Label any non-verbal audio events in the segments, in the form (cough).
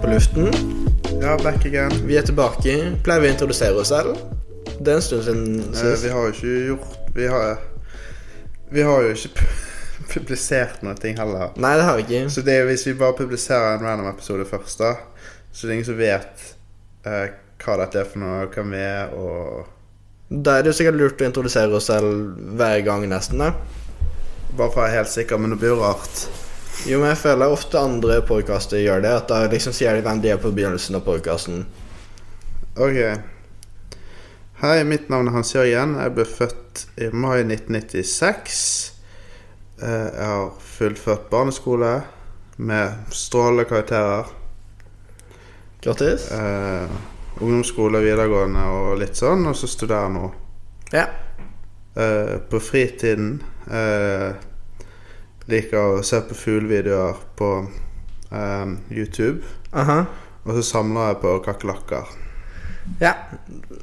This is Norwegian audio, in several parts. på luften. Ja, back again. Vi er tilbake. Pleier vi å introdusere oss selv? Det er en stund siden Eh, sist. vi har jo ikke gjort Vi har, vi har jo ikke (laughs) pu- publisert noe ting heller. Nei, det har vi ikke. Så det er jo hvis vi bare publiserer en random episode først, da, så det er ingen som vet eh, hva dette er for noe, hvem vi er, og Da er det jo sikkert lurt å introdusere oss selv hver gang, nesten. da. Bare for å være helt sikker, men det blir jo rart. Jo, men jeg føler ofte andre podkaster gjør det. At da liksom sier de hvem de er på begynnelsen av podkasten. Ok. Hei, mitt navn er Hans Jørgen. Jeg ble født i mai 1996. Eh, Jeg har fullført barneskole med strålende karakterer. Grattis. eh, ungdomsskole, videregående og litt sånn, og så studerer nå. Ja. Eh, på fritiden eh, liker å se på fuglevideoer på eh, YouTube, Aha. og så samler jeg på kakerlakker. Ja.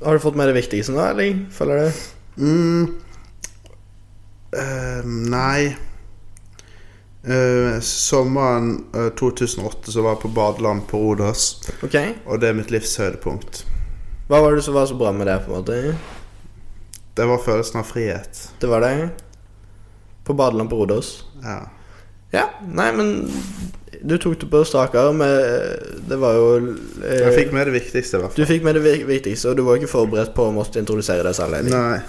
Har du fått med det viktigste nå, eller føler du? Mm. Eh, nei Eh, Sommeren eh, 2008 så var jeg på badeland på Rodos, Ok. og det er mitt livs høydepunkt. Hva var det som var så bra med det, på en måte? Det var følelsen av frihet. Det var det. På badeland på Rodos. Ja. Ja. Nei, men du tok det på strak arm. eh, Det var jo eh, Jeg fikk med det viktigste, i hvert Du fikk med det vi- viktigste, og du var ikke forberedt på å måtte introdusere deg selv. fall. Eddie. Nei.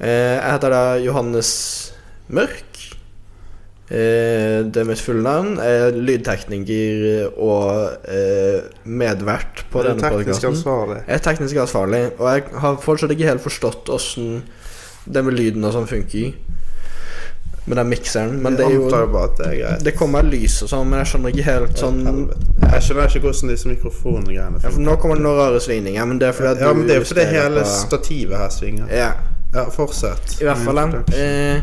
Eh, jeg heter da Johannes Mørk. Eh, det er mitt fulle navn. Jeg er lydtekniker og eh, medvert på Er du denne teknisk podkasten. ansvarlig? Jeg er teknisk ansvarlig, og jeg har fortsatt ikke helt forstått åssen det med lyden og sånn funker. Med den mikseren. Men det er Jeg antar jo jo bare at det er greit. Det kommer lys og sånn, men jeg skjønner ikke helt sånn ja, Jeg skjønner ikke hvordan disse mikrofongreiene for Nå kommer det noen rare svingninger, men det er fordi at Ja, men det er jo fordi justerer hele på- stativet her svinger. Ja. Ja, fortsett. I hvert fall den. Eh,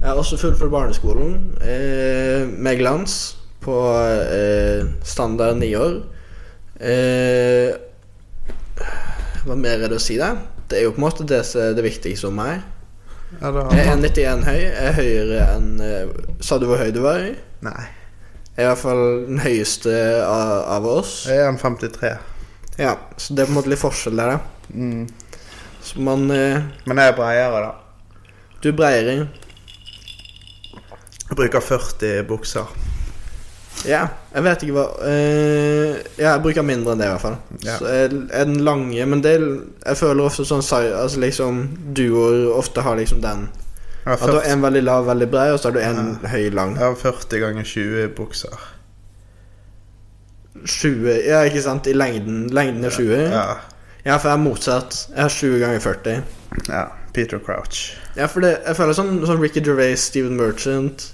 jeg har også fullført barneskolen eh, med glans på eh, standard ni år. Eh, hva mer er det å si, da? Det er jo på en måte det som er det viktigste om meg. Ja, da- Jeg er 91 høy. Jeg er høyere enn eh, Sa du hvor høy du var? Jeg Nei. er i hvert fall den høyeste av, av oss. Jeg er en 53. Ja, Så det er på en måte litt forskjell der, da. Så man eh, Men jeg er bredere, da. Du er breiere. Jeg bruker 40 bukser. Ja, jeg vet ikke hva eh, Ja, jeg bruker mindre enn det, i hvert fall. Ja. Så jeg, er den lange Men det, jeg føler ofte sånn si- Altså liksom Duoer ofte har liksom den. Jeg har At du har 40, en veldig lav, veldig brei, og så har du en høy, lang. jeg har 40 ganger 20 bukser. 20 Ja, ikke sant? I lengden. Lengden er 20. Ja, Ja. for jeg er motsatt. Jeg har 20 ganger 40. ja. Peter Crouch. Ja, for det, jeg føler sånn, sånn Ricky Gervais, Steven Merchant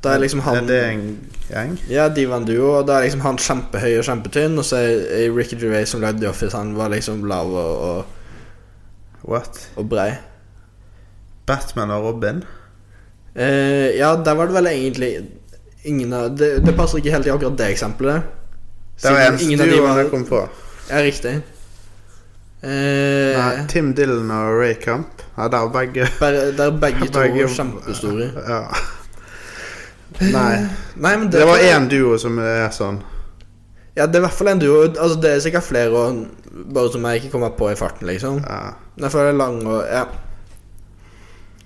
Da er liksom han Er det en gjeng? Ja, de var en duo, og da er liksom han kjempehøy og kjempetynn, og så er er Ricky Gervais som lagde The Office, han var liksom lav og, og, What? og brei. Batman og Robin? Eh, ja, der var det vel egentlig ingen av Det, det passer ikke helt i akkurat det eksempelet. Det var Siden eneste ingen av de duoen var- jeg kom på. Ja, riktig. Eh, Nei, Tim Dylan og Ray Camp. Ja, der var (laughs) begge bare, der begge to Begge- var kjempestore. Ja. Nei. Nei, men det, Det var én duo som er sånn. Ja, det er i hvert fall en duo. Altså, det er sikkert flere, og bare som jeg ikke kommer på i farten, liksom. Ja. Jeg føler det er lang og Ja.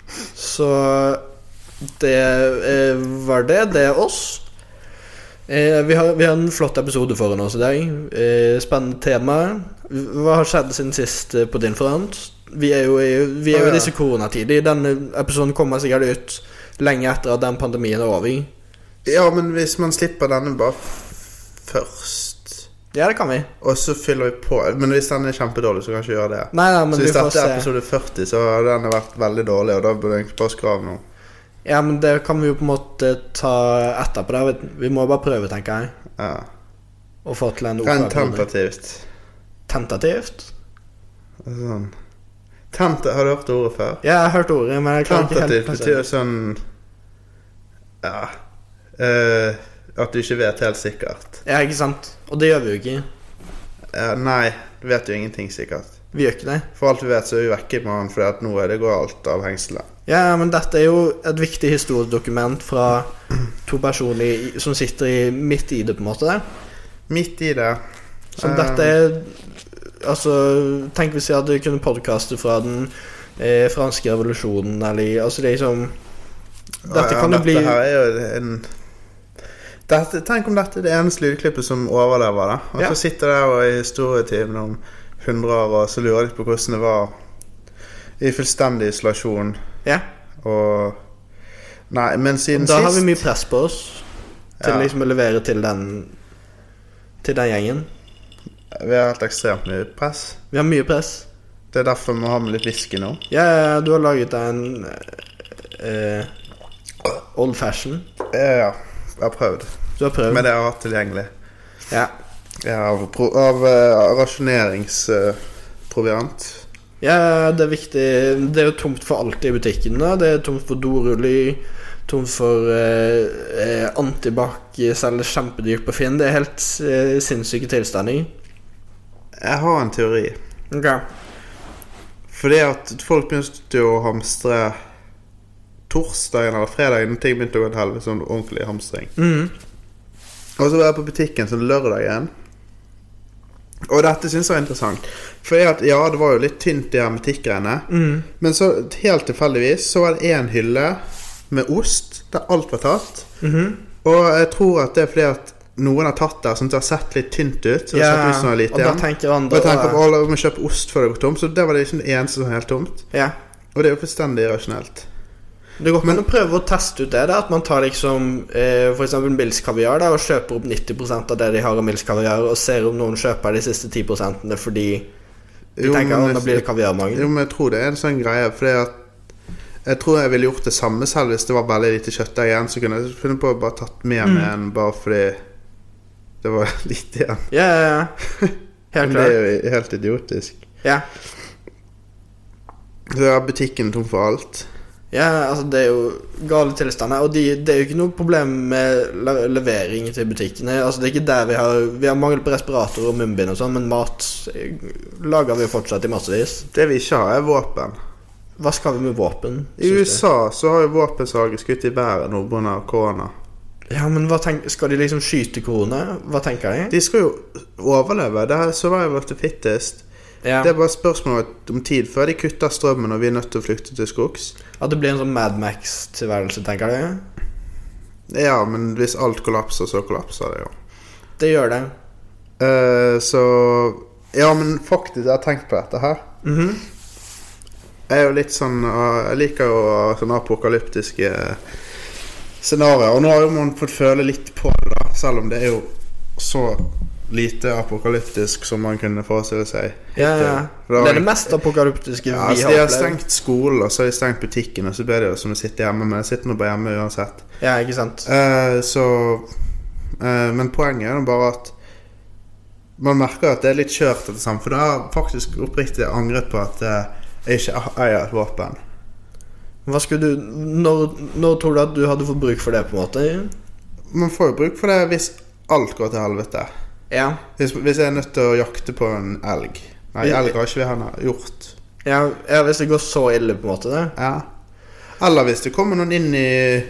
Så det eh, var det. Det er oss. Eh, vi, har, vi har en flott episode foran oss i dag. Eh, spennende tema. Hva har skjedd siden sist eh, på din front? Vi er jo i, vi er jo Å, ja. i disse koronatider. Denne episoden kommer sikkert ut lenge etter at den pandemien er over. ja, men hvis man slipper denne bare f- først, Ja, det kan vi. og så fyller vi på Men hvis den er kjempedårlig, så kan vi ikke gjøre det. Nei, nei, men så vi hvis får dette er se. episode 40, så har den vært veldig dårlig, og da burde jeg egentlig bare skrave noe. Ja, men det kan vi jo på en måte ta etterpå. Da. Vi må bare prøve, tenker jeg. Ja. Og få til en Rent oppgave. tentativt. Tentativt? Sånn. Tenta, har du hørt ordet før? Ja, jeg har hørt ordet, men jeg klarer ikke helt Tentativt plassere betyr det. sånn Ja eh, At du ikke vet helt sikkert. Ja, ikke sant? Og det gjør vi jo ikke. Eh, nei, du vet jo ingenting sikkert. Vi gjør ikke det. For alt vi vet, så er vi vekke i morgen fordi at nå er det går alt av hengselet. Ja, men dette er jo et viktig historisk dokument fra to personer i- som sitter i, midt i det, på en måte. Midt i det. Som Eh, dette er Altså, tenk hvis jeg hadde kunnet podkaste fra den eh, franske revolusjonen, eller Altså, det er liksom Dette Eh, ja, kan jo bli Dette her er jo en dette, Tenk om dette er det eneste lydklippet som overlever, da. Og Ja. så sitter de og er historietimen om 100 år, og så lurer de på hvordan det var i fullstendig isolasjon Ja. og Nei, men siden Da har sist vi mye press på oss til Ja. liksom å levere til den Til den gjengen. Vi har helt ekstremt mye press. Vi har mye press. Det er derfor vi må ha med litt whisky nå. Ja, ja, ja, du har laget deg en eh, old fashion. Ja, ja. Jeg har prøvd. Du har prøvd. Med det jeg har hatt tilgjengelig. Ja. Ja, av pro av eh, rasjoneringsproviant. ja, det er viktig. Det er jo tomt for alt i butikken. da. Det er tomt for doruller, tomt for eh, eh, antibac, selger kjempedyrt på Finn. Det er helt eh, sinnssyke tilstander. jeg har en teori. Okay. Fordi at folk begynte jo å hamstre torsdagen eller fredagen. når Ting begynte å gå til helvete. Sånn ordentlig hamstring. Mm. Og så var jeg på butikken sånn lørdagen. Og dette syns jeg er interessant. For at, ja, det var jo litt tynt, de hermetikkgreiene. Mm. Men så helt tilfeldigvis så var det én hylle med ost der alt var tatt. Mhm. Og jeg tror at det er fordi at noen har tatt det, sånn at det har sett litt tynt ut. Så det Ja, har sett ut som det er og da lite igjen. tenker Og andre jeg tenker «Åh, på, «Å, la meg kjøpe ost før det går tomt, så det var det ikke det eneste som var helt tomt. ja. Og det er jo fullstendig irrasjonelt. Det går ikke an å prøve å teste ut det. Da, at man tar liksom eh, f.eks. Mills kaviar da, og kjøper opp 90 av det de har av Mills kaviar, og ser om noen kjøper de siste 10 fordi de Jo, tenker men at da jeg- blir det kaviarmangel. Jo, men jeg tror det er en sånn greie, fordi at jeg tror jeg ville gjort det samme selv hvis det var veldig lite kjøtt der igjen. Så kunne jeg funnet på å bare tatt mer med enn bare fordi det var (laughs) lite igjen. Ja, ja, ja. (laughs) Helt Men det klart. er jo helt idiotisk. Ja. Så er butikken tom for alt. ja, altså, det er jo gale tilstander. Og de, det er jo ikke noe problem med le levering til butikkene. Altså, det er ikke der vi har Vi har mangel på respiratorer og munnbind og sånn, men mat eh, lager vi jo fortsatt i massevis. Det vi ikke har, er våpen. Hva skal vi med våpen? I synes du? USA så har jo våpensalget skutt i været nå pga. korona. Ja, men hva tenk, Skal de liksom skyte korona? Hva tenker de? De skal jo overleve. Det er survival of the fittest. Ja. Det er bare spørsmål om tid før de kutter strømmen og vi er nødt til å flykte til skogs. At det blir en sånn Mad Max-tilværelse, tenker de? Ja, men hvis alt kollapser, så kollapser det jo. Det gjør det. Eh, så Ja, men faktisk, jeg har tenkt på dette her. Mhm. Jeg er jo litt sånn eh, Jeg liker jo sånne apokalyptiske scenarioer. Og nå har jo man fått føle litt på det, da. Selv om det er jo så lite apokalyptisk som man kunne forestille seg. Ja, ja. For Det det er det var, mest apokalyptiske ja, vi altså, har de har opplevd. stengt skolen, og så har de stengt butikken, og så blir det jo som å sitte hjemme. Men jeg sitter nå bare hjemme uansett. Ja, ikke sant? Eh, så eh, Men poenget er jo bare at man merker at det er litt kjørt, dette sammen. For da har jeg faktisk oppriktig angret på at eh, jeg ikke eier et våpen. Hva skulle du når, når tror du at du hadde fått bruk for det, på en måte? Man får jo bruk for det hvis alt går til helvete. Ja. Hvis, hvis jeg er nødt til å jakte på en elg. Nei, Ja. elg har ikke vi henne gjort. ja. Ja, hvis det går så ille, på en måte. det Ja. Eller hvis det kommer noen inn i,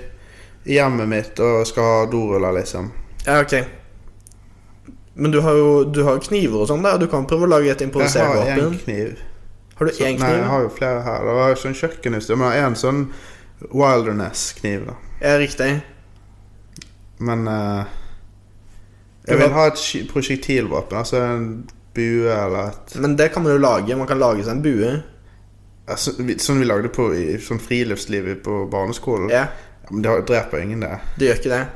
i hjemmet mitt og skal ha doruller, liksom. Ja, ok. Men du har jo du har jo kniver og sånn der. Du kan prøve å lage et Jeg improvisert har én våpen. kniv. Har du Så, én nei, kniv? jeg har jo flere her. Det var jo sånn kjøkkenhus. Men jeg har en sånn Wilderness-kniv, da. Ja, riktig. Men eh, Du Jeg vil har- ha et sky- prosjektilvåpen. Altså en bue eller et Men det kan man jo lage. Man kan lage seg en bue. altså, vi- Sånn vi lagde på i i sånn friluftslivet på barneskolen. Ja, Ja, Men det har- dreper ingen, det. Det gjør ikke det.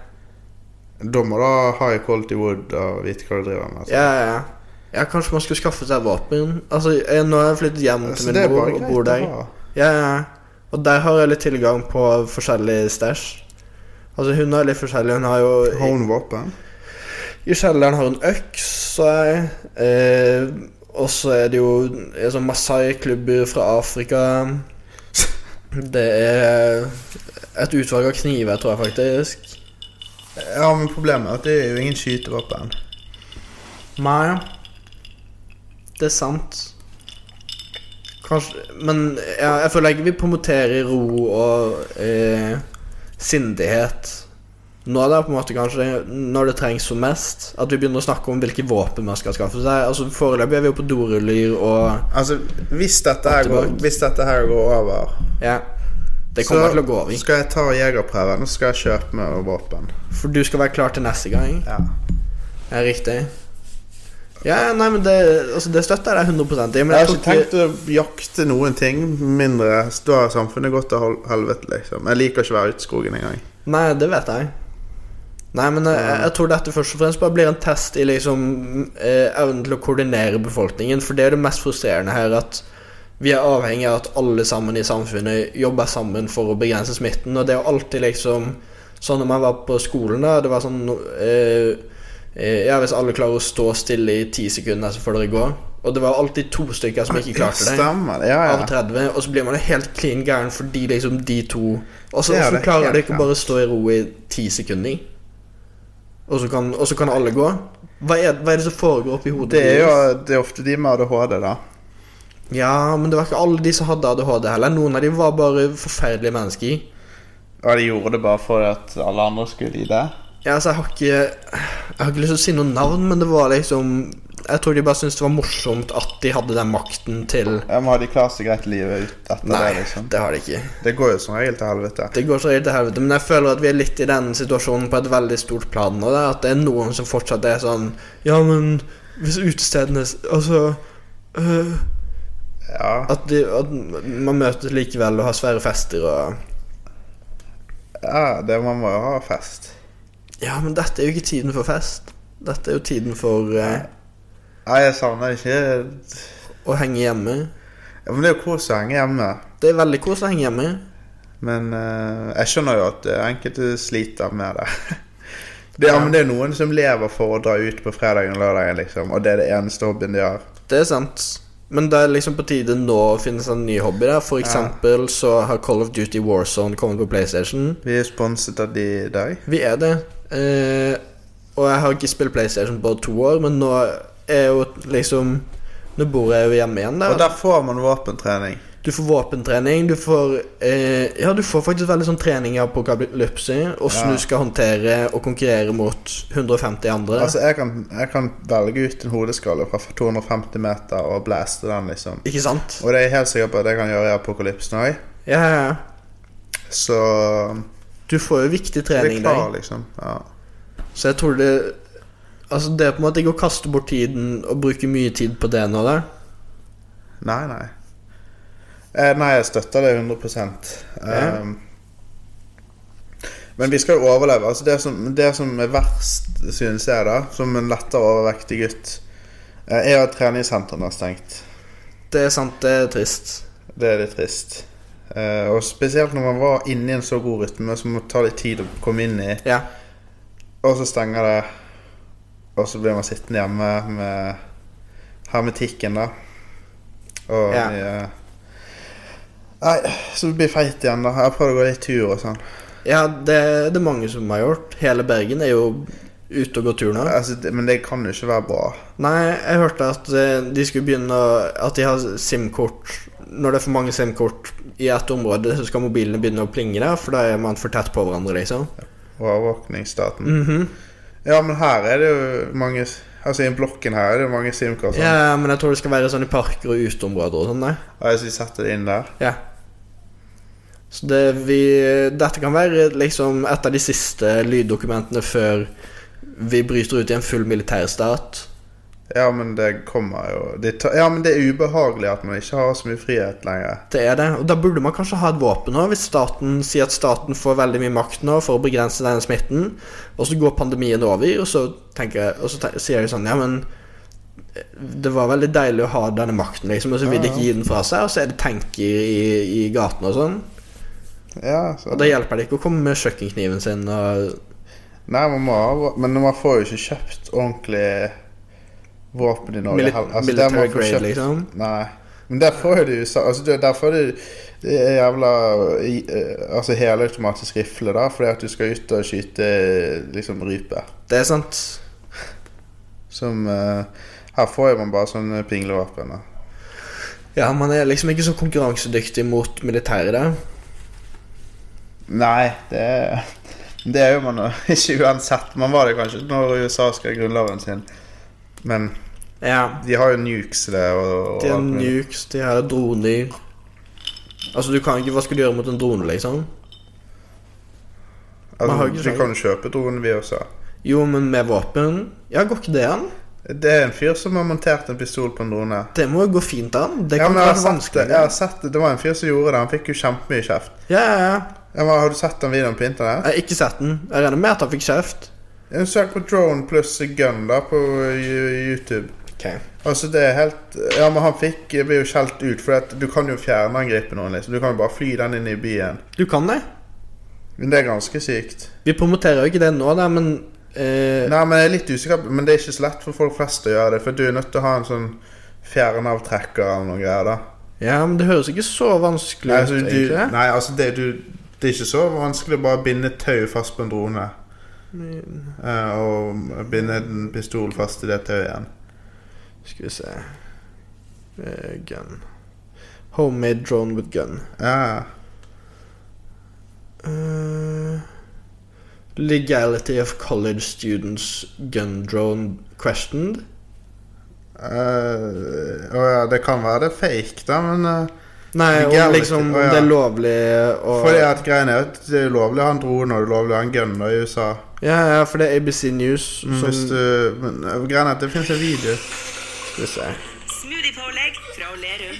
Da må du ha high quality wood og vite hva du driver med. Altså. Ja, ja, ja. Ja, kanskje man skulle skaffe seg våpen. Altså, jeg, Nå har jeg flyttet hjem til Altså, min det er bror bare og bor greit der. å ha. Ja, ja. ja. Og der har jeg litt tilgang på forskjellig stæsj. Altså, hun har litt forskjellig. Hun har jo Har hun våpen? I kjelleren har hun øks, sa jeg. Eh, og så er det jo eh, sånn Masai-klubber fra Afrika. (laughs) Det er et utvalg av kniver, tror jeg faktisk. Ja, men problemet er at det er jo ingen skytevåpen. Nei. Det er sant. Kanskje Men ja, jeg føler ikke vi promoterer ro og eh, sindighet Nå er det på en måte kanskje når det trengs som mest, at vi begynner å snakke om hvilke våpen man skal skaffe seg. Altså Foreløpig er vi jo på doruller og Altså, hvis dette her Tilbake. går, hvis dette her går over Ja. Det kommer til å gå over. skal jeg ta jegerprøven og så skal jeg kjøpe meg våpen. For du skal være klar til neste gang. Ja. Ja, riktig. Ja, nei, men det, altså, det støtter jeg deg 100 i. Jeg Men har jeg tror ikke ikke tenkt å jakte noen ting mindre. Da har samfunnet gått til hel- helvete, liksom. Jeg liker ikke å være ute i skogen engang. Nei, det vet jeg. Nei, men jeg, jeg tror dette først og fremst bare blir en test i liksom eh, evnen til å koordinere befolkningen. For det er det mest frustrerende her, at vi er avhengig av at alle sammen i samfunnet jobber sammen for å begrense smitten. Og det er jo alltid liksom sånn når man var på skolen, da. Det var sånn eh, eh, Ja, hvis alle klarer å stå stille i ti sekunder, så får dere gå. Og det var alltid to stykker som ikke klarte det. Stemmer det. Ja, av ja. 30, og så blir man jo helt klin gæren fordi liksom de to Og så Det er hvorfor det klarer helt de ikke klart. bare å stå i ro i ti sekunder? Og så kan, og så kan alle gå? Hva er, hva er det som foregår oppi hodet? Det er jo deres? det er ofte de med ADHD, da. Ja, men det var ikke alle de som hadde ADHD heller. Noen av dem var bare forferdelige mennesker. Og de gjorde det bare for at alle andre skulle lide. Ja, altså, jeg har ikke Jeg har ikke lyst til å si noe navn, men det var liksom Jeg tror de bare syntes det var morsomt at de hadde den makten til Ja, men har de klart seg greit i livet ut etter Nei, det, liksom? det har de ikke. Det går jo som regel til helvete. Det går så helt til helvete, men jeg føler at vi er litt i den situasjonen på et veldig stort plan nå. da, At det er noen som fortsatt er sånn Ja, men hvis utestedene s- Altså øh, Ja. at, de, at man møtes likevel og har svære fester og ja det, man må jo ha fest. Ja, men dette er jo ikke tiden for fest. Dette er jo tiden for eh, Nei, jeg savner ikke ja, å henge hjemme. Men det er jo kos å henge hjemme. Det er veldig koselig å henge hjemme. Men eh, jeg skjønner jo at eh, enkelte sliter med det. (laughs) det ja, men det er noen som lever for å dra ut på fredagen og lørdagen, liksom. Og det er det eneste hobbyen de har. Det er sant. Men det er liksom på tide nå å finne seg en ny hobby. da For Ja. eksempel så har Call of Duty Warzone kommet på PlayStation. Vi er sponset av de i dag. Vi er det. Eh, og jeg har ikke spilt PlayStation på to år, men nå er jo liksom Nå bor jeg jo hjemme igjen. Og da der får man våpentrening. Du får våpentrening, du får eh, Ja, du får faktisk veldig sånn trening i apokalypse. Hvordan Ja. du skal håndtere og konkurrere mot 150 andre. Altså, jeg kan, jeg kan velge ut en hodeskalle fra 250 meter og blæste den, liksom. ikke sant? Og det er jeg helt sikker på at jeg kan gjøre i apokalypsen òg. Ja, ja, ja. Så Du får jo viktig det er trening der. klar, liksom. Ja. Så jeg tror det Altså, det er på en måte ikke å kaste bort tiden og bruke mye tid på det nå, da. Nei, nei. Eh, nei, jeg støtter det 100 Ja. um, Men vi skal jo overleve. Altså det, som, det som er verst, synes jeg, da som en lettere overvektig gutt, eh, er at treningssentrene er stengt. Det er sant, det er trist. Det er litt trist. Eh, og spesielt når man var inne i en så god rytme, så må det ta litt tid å komme inn i. Ja. Og så stenger det, og så blir man sittende hjemme med hermetikken, da. Og Ja. mye- Nei, så du blir feit igjen, da. Jeg har prøvd å gå litt tur og sånn. Ja, det er det mange som har gjort. Hele Bergen er jo ute og går tur nå. Altså, det, men det kan jo ikke være bra. Nei, jeg hørte at eh, de skulle begynne å At de har SIM-kort Når det er for mange SIM-kort i ett område, så skal mobilene begynne å plinge der, for da er man for tett på hverandre, liksom. Overvåkningsstaten. Mhm. Ja, men her er det jo mange Altså, i blokken her er det jo mange SIM-kort. sånn. Ja, men jeg tror det skal være sånn i parker og uteområder og sånn, nei. Og hvis vi setter det inn der Ja. Så det vi Dette kan være liksom et av de siste lyddokumentene før vi bryter ut i en full militærstat. Ja, men det kommer jo det tar, Ja, men det er ubehagelig at man ikke har så mye frihet lenger. Det er det, og da burde man kanskje ha et våpen òg, hvis staten sier at staten får veldig mye makt nå for å begrense denne smitten, og så går pandemien over, og så, tenker jeg, og så te- sier de sånn Ja, men eh, det var veldig deilig å ha denne makten, liksom, og så vil de ikke gi den fra seg, og så er det tanker i, i gatene og sånn. Ja, så Og da hjelper det ikke å komme med kjøkkenkniven sin og Nei, man må ha vå- Men man får jo ikke kjøpt ordentlig våpen i Norge. mili- heller. Altså, der military må man få grade, kjøpt- liksom. Nei. Men der får jo du så- altså, det- Der får du det er jævla i- eh, Altså helautomatisk rifle, da, fordi at du skal ut og skyte eh, liksom rype. Det er sant. Som eh, Her får jo man bare sånne pinglevåpen. da. Ja, man er liksom ikke så konkurransedyktig mot militæret der. Nei, det er Det er jo man jo (laughs) ikke uansett. Man var det kanskje når USA skrev grunnloven sin. Men Ja. de har jo nukes der. Og, og De har alt mulig. nukes, de har droner Altså, du kan ikke Hva skal du gjøre mot en drone, liksom? man har jo ikke altså, sånn. du kan jo kjøpe dronen vi også. Jo, men med våpen Ja, går ikke det an? Det er en fyr som har montert en pistol på en drone. Det må jo gå fint an. Det Ja, kan men jeg være har, sett det. vanskelig. jeg har sett det. Det var en fyr som gjorde det. Han fikk jo kjempemye kjeft. Ja, ja, ja. Ja, men har du sett den videoen på Jeg internett? har ikke sett den. Jeg regner med at han fikk kjeft. En Søk på drone pluss gun da på eh, YouTube. Okay. Altså det er helt Ja, men han fikk ble jo skjelt ut, for at du kan jo fjernangripe noen, liksom. Du kan jo bare fly den inn i byen. Du kan det. Men det er ganske sykt. Vi promoterer jo ikke det nå, da, men eh, Nei, men jeg er litt usikker, men det er ikke så lett for folk flest å gjøre det, for du er nødt til å ha en sånn fjernavtrekker eller noe greier, da. Ja, men det høres ikke så vanskelig Nei, ut, altså, du, egentlig. nei, altså det, du, det er ikke så vanskelig å bare binde tau fast på en drone. eh, og binde en pistol fast i det tauet igjen. Skal vi se Eh, Gun. Homemade drone with gun. Ja, Eh, legality of college students gun drone questioned. eh, og ja, det kan være det er fake, da, men eh, Nei, om Legality, liksom om å, ja. det er lovlig å Fordi at greien er at det er ulovlig å ha en drone og det er ulovlig å ha en gun da, i USA. Ja, ja, for det er ABC News som Mm. Hvis du, men eh, greien er at det finnes en video. Skal vi se. Smoothie-pålegg fra Olerum.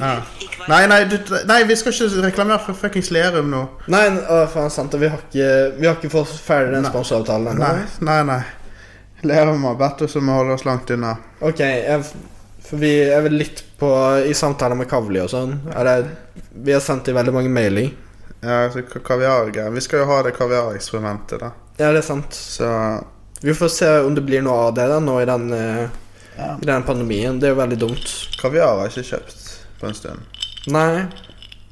Ja. I hver- Nei, nei, du, nei, vi skal ikke reklamere for fuckings Lerum nå. Nei, n- å, faen sant det. Vi har ikke, vi har ikke fått ferdig den Nei. sponsoravtalen ennå. Nei, nei. nei. Lerum har bedt oss om å holde oss langt unna. Ok, jeg, f- for vi er vel litt på I samtaler med Kavli og sånn. Er det, vi har sendt dem veldig mange mailer. Ja, altså, ka- kaviargreier. Vi skal jo ha det kaviareksperimentet, da. Ja, det er sant. Så Vi får se om det blir noe av det da nå i den, eh, Ja. i den pandemien. Det er jo veldig dumt. kaviar har jeg ikke kjøpt på en stund. Nei.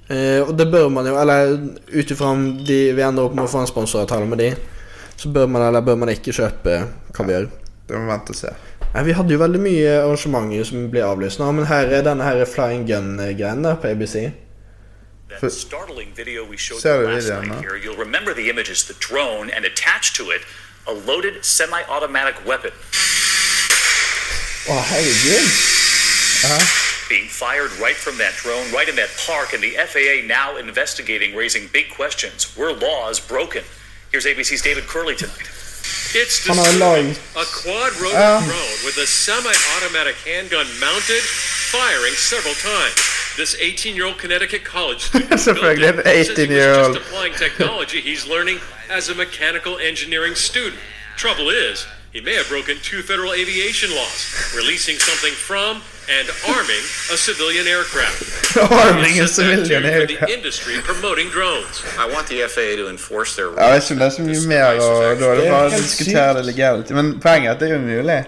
Eh, og det bør man jo Eller ut ifra om de, vi ender opp med å få en sponsoravtale med de, så bør man eller bør man ikke kjøpe kaviar. Det må vi vente og (laughs) se. Nei, vi hadde jo veldig mye arrangementer som ble avlyst nå, men her er denne her flying gun-greien der på ABC. For- That startling video we showed Sarah you last Vivian, night huh? here, you'll remember the image is the drone and attached to it a loaded semi-automatic weapon Å, herregud. being fired right from that drone right in that park and the FAA now investigating raising big questions. Were laws broken? Here's ABC's David Curley tonight. It's Come on, disturbing. Lloyd. A quad rotor drone with a semi-automatic handgun mounted, firing several times. This 18-year-old Connecticut college (laughs) student That's a built it, friggin' says he was 18-year-old. just applying technology he's learning as a mechanical engineering student. Trouble is, he may have broken two federal aviation laws, releasing something from and arming a civilian aircraft. Arming en Set that civilian too for aircraft. the industry promoting drones. I want the FAA to enforce their Jeg vet ikke om det er så mye mer, og da er det bare å Det er helt diskutere det legalt. Men poenget er at det er jo mulig.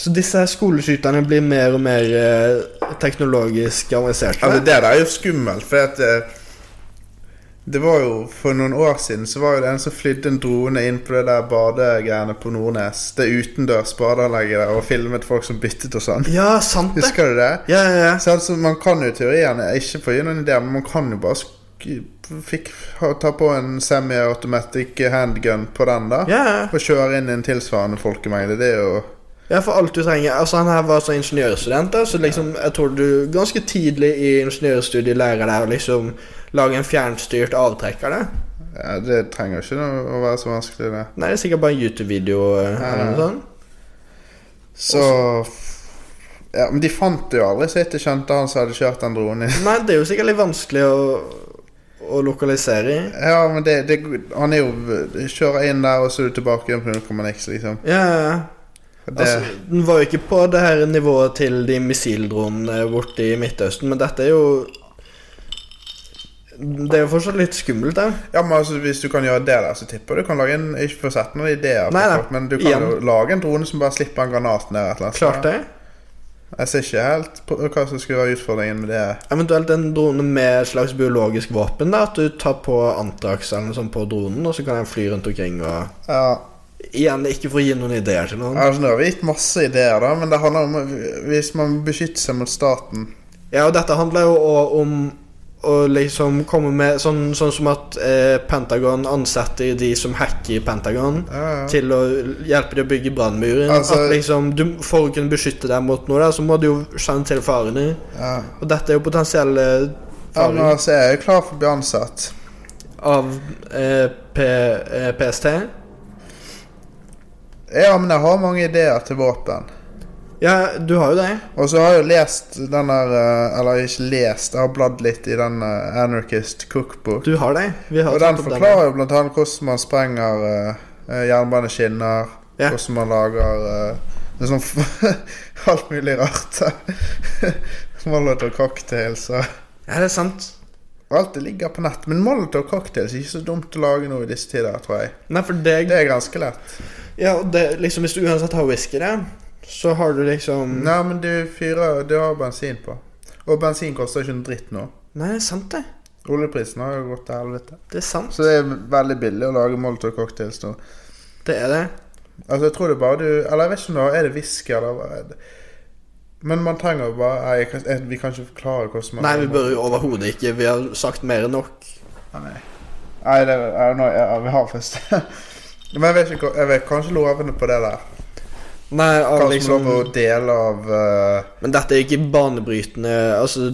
Så disse her skoleskyterne blir mer og mer eh, teknologisk avanserte. Altså, det der er jo skummelt, for at eh, Det var jo For noen år siden så var jo det en som flydde en drone inn på det der badegreiene på Nordnes. Det utendørs badeanlegget der, og filmet folk som byttet og sånn. Ja, sant det. Husker du det? Ja, ja, ja. Så altså, man kan jo teorien Ikke for å gi noen idé, men man kan jo bare sk fikk, ha- ta på en semi-automatic handgun på den, da. Ja, ja. Og kjøre inn i en tilsvarende folkemengde. Det er jo Ja, for alt du trenger. Altså, han her var sånn ingeniørstudent, da, så liksom, jeg tror du ganske tidlig i ingeniørstudiet lærer deg å liksom lage en fjernstyrt avtrekker. Da. Ja, Det trenger ikke noe å være så vanskelig, det. Nei, det er sikkert bare en YouTube-video eh, eller noe sånt. Så ja, Men de fant jo aldri sitt. Jeg kjente han som hadde kjørt den dronen inn. (laughs) Nei, det er jo sikkert litt vanskelig å, å lokalisere i. Ja, men det, det, han er jo Kjører inn der, og så er du tilbake igjen på null komma niks, liksom. Ja, ja, ja. Det, Altså, den var jo ikke på det her nivået til de missildronene borte i Midtøsten, men dette er jo Det er jo fortsatt litt skummelt, da. ja, men altså, Hvis du kan gjøre det der, så tipper jeg du kan lage en Ikke for å sette noen ideer, på Nei, nei, folk, men du kan igjen. jo lage en drone som bare slipper en granat ned et eller annet. Klart det. Jeg ser ikke helt på hva som skulle være utfordringen med det. Eventuelt en drone med et slags biologisk våpen. da At du tar på antrax eller noe sånt på dronen, og så kan den fly rundt omkring og Ja, Igjen, ikke for å gi noen ideer til noen. altså, Nå har vi gitt masse ideer, da, men det handler om hvis man beskytter seg mot staten. Ja, og dette handler jo òg om Og liksom komme med sånn, sånn som at eh, Pentagon ansetter de som hacker Pentagon, Ja, ja. til å hjelpe de å bygge brannmuren. Altså- at liksom, du, for å kunne beskytte deg mot noe, da, så må du jo kjenne til farene. Ja. Og dette er jo potensielle Ja, men farer altså, jeg er klar for å bli ansatt. av eh, P, eh, PST. Ja, men jeg har mange ideer til våpen. Ja, du har jo det. Og så har jeg jo lest den der eh, Eller ikke lest, jeg har bladd litt i den eh, Anarchist Cookbook. Du har det. Vi har Og tatt den opp forklarer jo blant annet hvordan man sprenger eh, eh, jernbaneskinner. Ja. Hvordan man lager eh, det er sånn f- (laughs) alt mulig rart. (laughs) Molotov cocktails og Ja, det er sant. Alt det ligger på nett. Men Molotov cocktails er ikke så dumt å lage nå i disse tider, tror jeg. Nei, for det, Det er ganske lett. Ja, og det, liksom, hvis du uansett har whisky, da, så har du liksom Nei, men du fyrer Du har bensin på. Og bensin koster ikke en dritt nå. Nei, det er sant, det. Oljeprisen har jo gått til helvete. Det er sant. Så det er veldig billig å lage Molotov cocktails nå. Det er det. Altså, jeg tror det er bare du Eller jeg vet ikke om det er det whisky eller hva er det Men man trenger bare nei, jeg, kan- jeg, Vi kan ikke forklare hvordan man Nei, vi bør jo overhodet ikke. Vi har sagt mer enn nok. Nei, nei det er noe ja, vi har først. (laughs) Men jeg vet ikke hva- Jeg vet kanskje lovene på det der. Nei, av Hva som liksom er lov å dele av eh, Men dette er ikke banebrytende Altså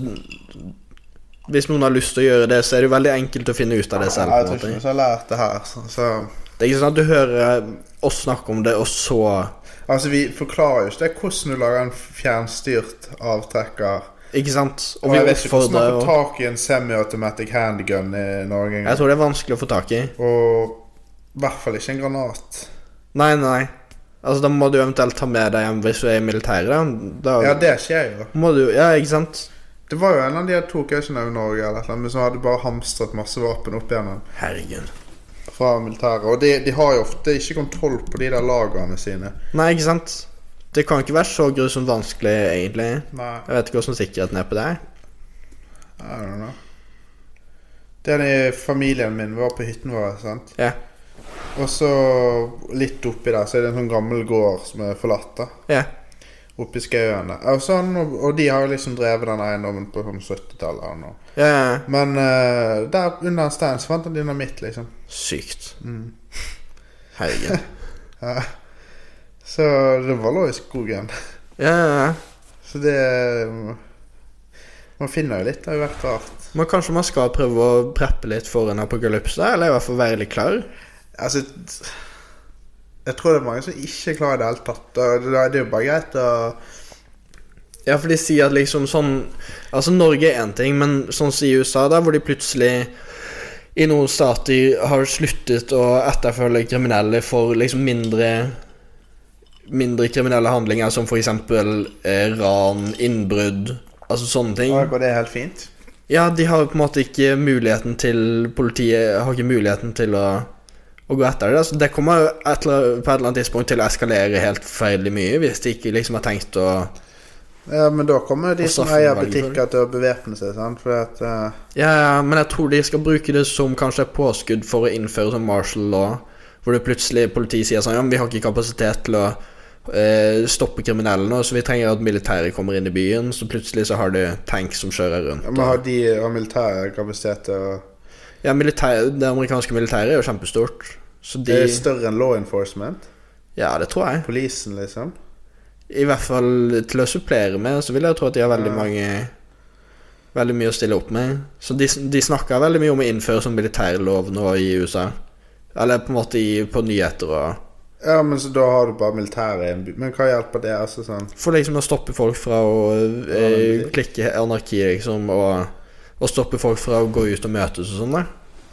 Hvis noen har lyst til å gjøre det, så er det jo veldig enkelt å finne ut av det selv. Jeg på en tror ikke vi måte. har lært det her. Så, så Det er ikke sånn at du hører oss snakke om det, og så Altså, vi forklarer jo ikke det hvordan du lager en fjernstyrt avtrekker. Ikke sant? Og Og vi jeg vet ikke hvordan man oppfordrer får og tak i en semi-automatic handgun i Norge. Jeg engang. tror det er vanskelig å få tak i. Og i hvert fall ikke en granat. Nei, nei. Altså, da må du eventuelt ta med deg hjem hvis du er i militæret. Da, da Ja, det skjer jo. må du Ja, ikke sant? Det var jo en av de jeg tok jeg ikke nevner Norge eller et eller annet, men som hadde bare hamstret masse våpen opp igjennom Herregud. fra militæret. Og de, de har jo ofte ikke kontroll på de der lagrene sine. Nei, ikke sant? Det kan ikke være så grusomt vanskelig, egentlig. Nei, Jeg vet ikke hvordan sikkerheten er på det. her. I don't know. Den i familien min var på hytten vår, sant? Ja. Og så litt oppi der, så er det en sånn gammel gård som er forlatt, da. Ja. Oppi skauene. Og, sånn, og, og de har jo liksom drevet den eiendommen på sånn 70-tallet eller noe. ja, ja. Men eh, der under en stein så fant han dynamitt, liksom. Sykt. Mm. Herregud. Så det var lå i skogen. (laughs) Ja, ja, ja. Så det um, Man finner jo litt, det har jo vært rart. Men kanskje man skal prøve å preppe litt for en apokalypse? Eller i hvert fall være litt klar? Altså t- Jeg tror det er mange som ikke klarer det i det hele tatt. og Det det er jo bare greit å Ja, for de sier at liksom sånn Altså, Norge er én ting, men sånn som i USA, da, hvor de plutselig i noen stater har sluttet å etterfølge kriminelle for liksom mindre Mindre kriminelle handlinger, som for eksempel eh, ran, innbrudd Altså sånne ting. Og det er helt fint. Ja, de har jo på en måte ikke muligheten til Politiet har ikke muligheten til å, å gå etter det. Så det kommer jo et eller, på et eller annet tidspunkt til å eskalere helt forferdelig mye hvis de ikke liksom har tenkt å Ja, men da kommer jo de Og som straffen velger for eier det. butikker til å bevæpne seg, sant. Fordi at eh, Ja, ja, men jeg tror de skal bruke det som kanskje et påskudd for å innføre sånn martial law, hvor det plutselig politiet sier sånn Ja, men vi har ikke kapasitet til å eh, stoppe kriminelle nå, så vi trenger at militæret kommer inn i byen, så plutselig så har du tanks som kjører rundt. man har og- de av militære kapasitet til å Ja, militær, Det amerikanske militæret er jo kjempestort, så de Det er større enn law enforcement. Ja, det tror jeg. Polisen, liksom. I hvert fall til å supplere med, så vil jeg tro at de har veldig mange Veldig mye å stille opp med. Så de, de snakker veldig mye om å innføre sånn militærlov nå i USA. Eller på en måte i, på nyheter og Ja, men så da har du bare militæret i en by. Men hva hjelper det? altså sånn For liksom å stoppe folk fra å eh, klikke anarki, liksom, og, og stoppe folk fra å gå ut og møtes og sånn, da.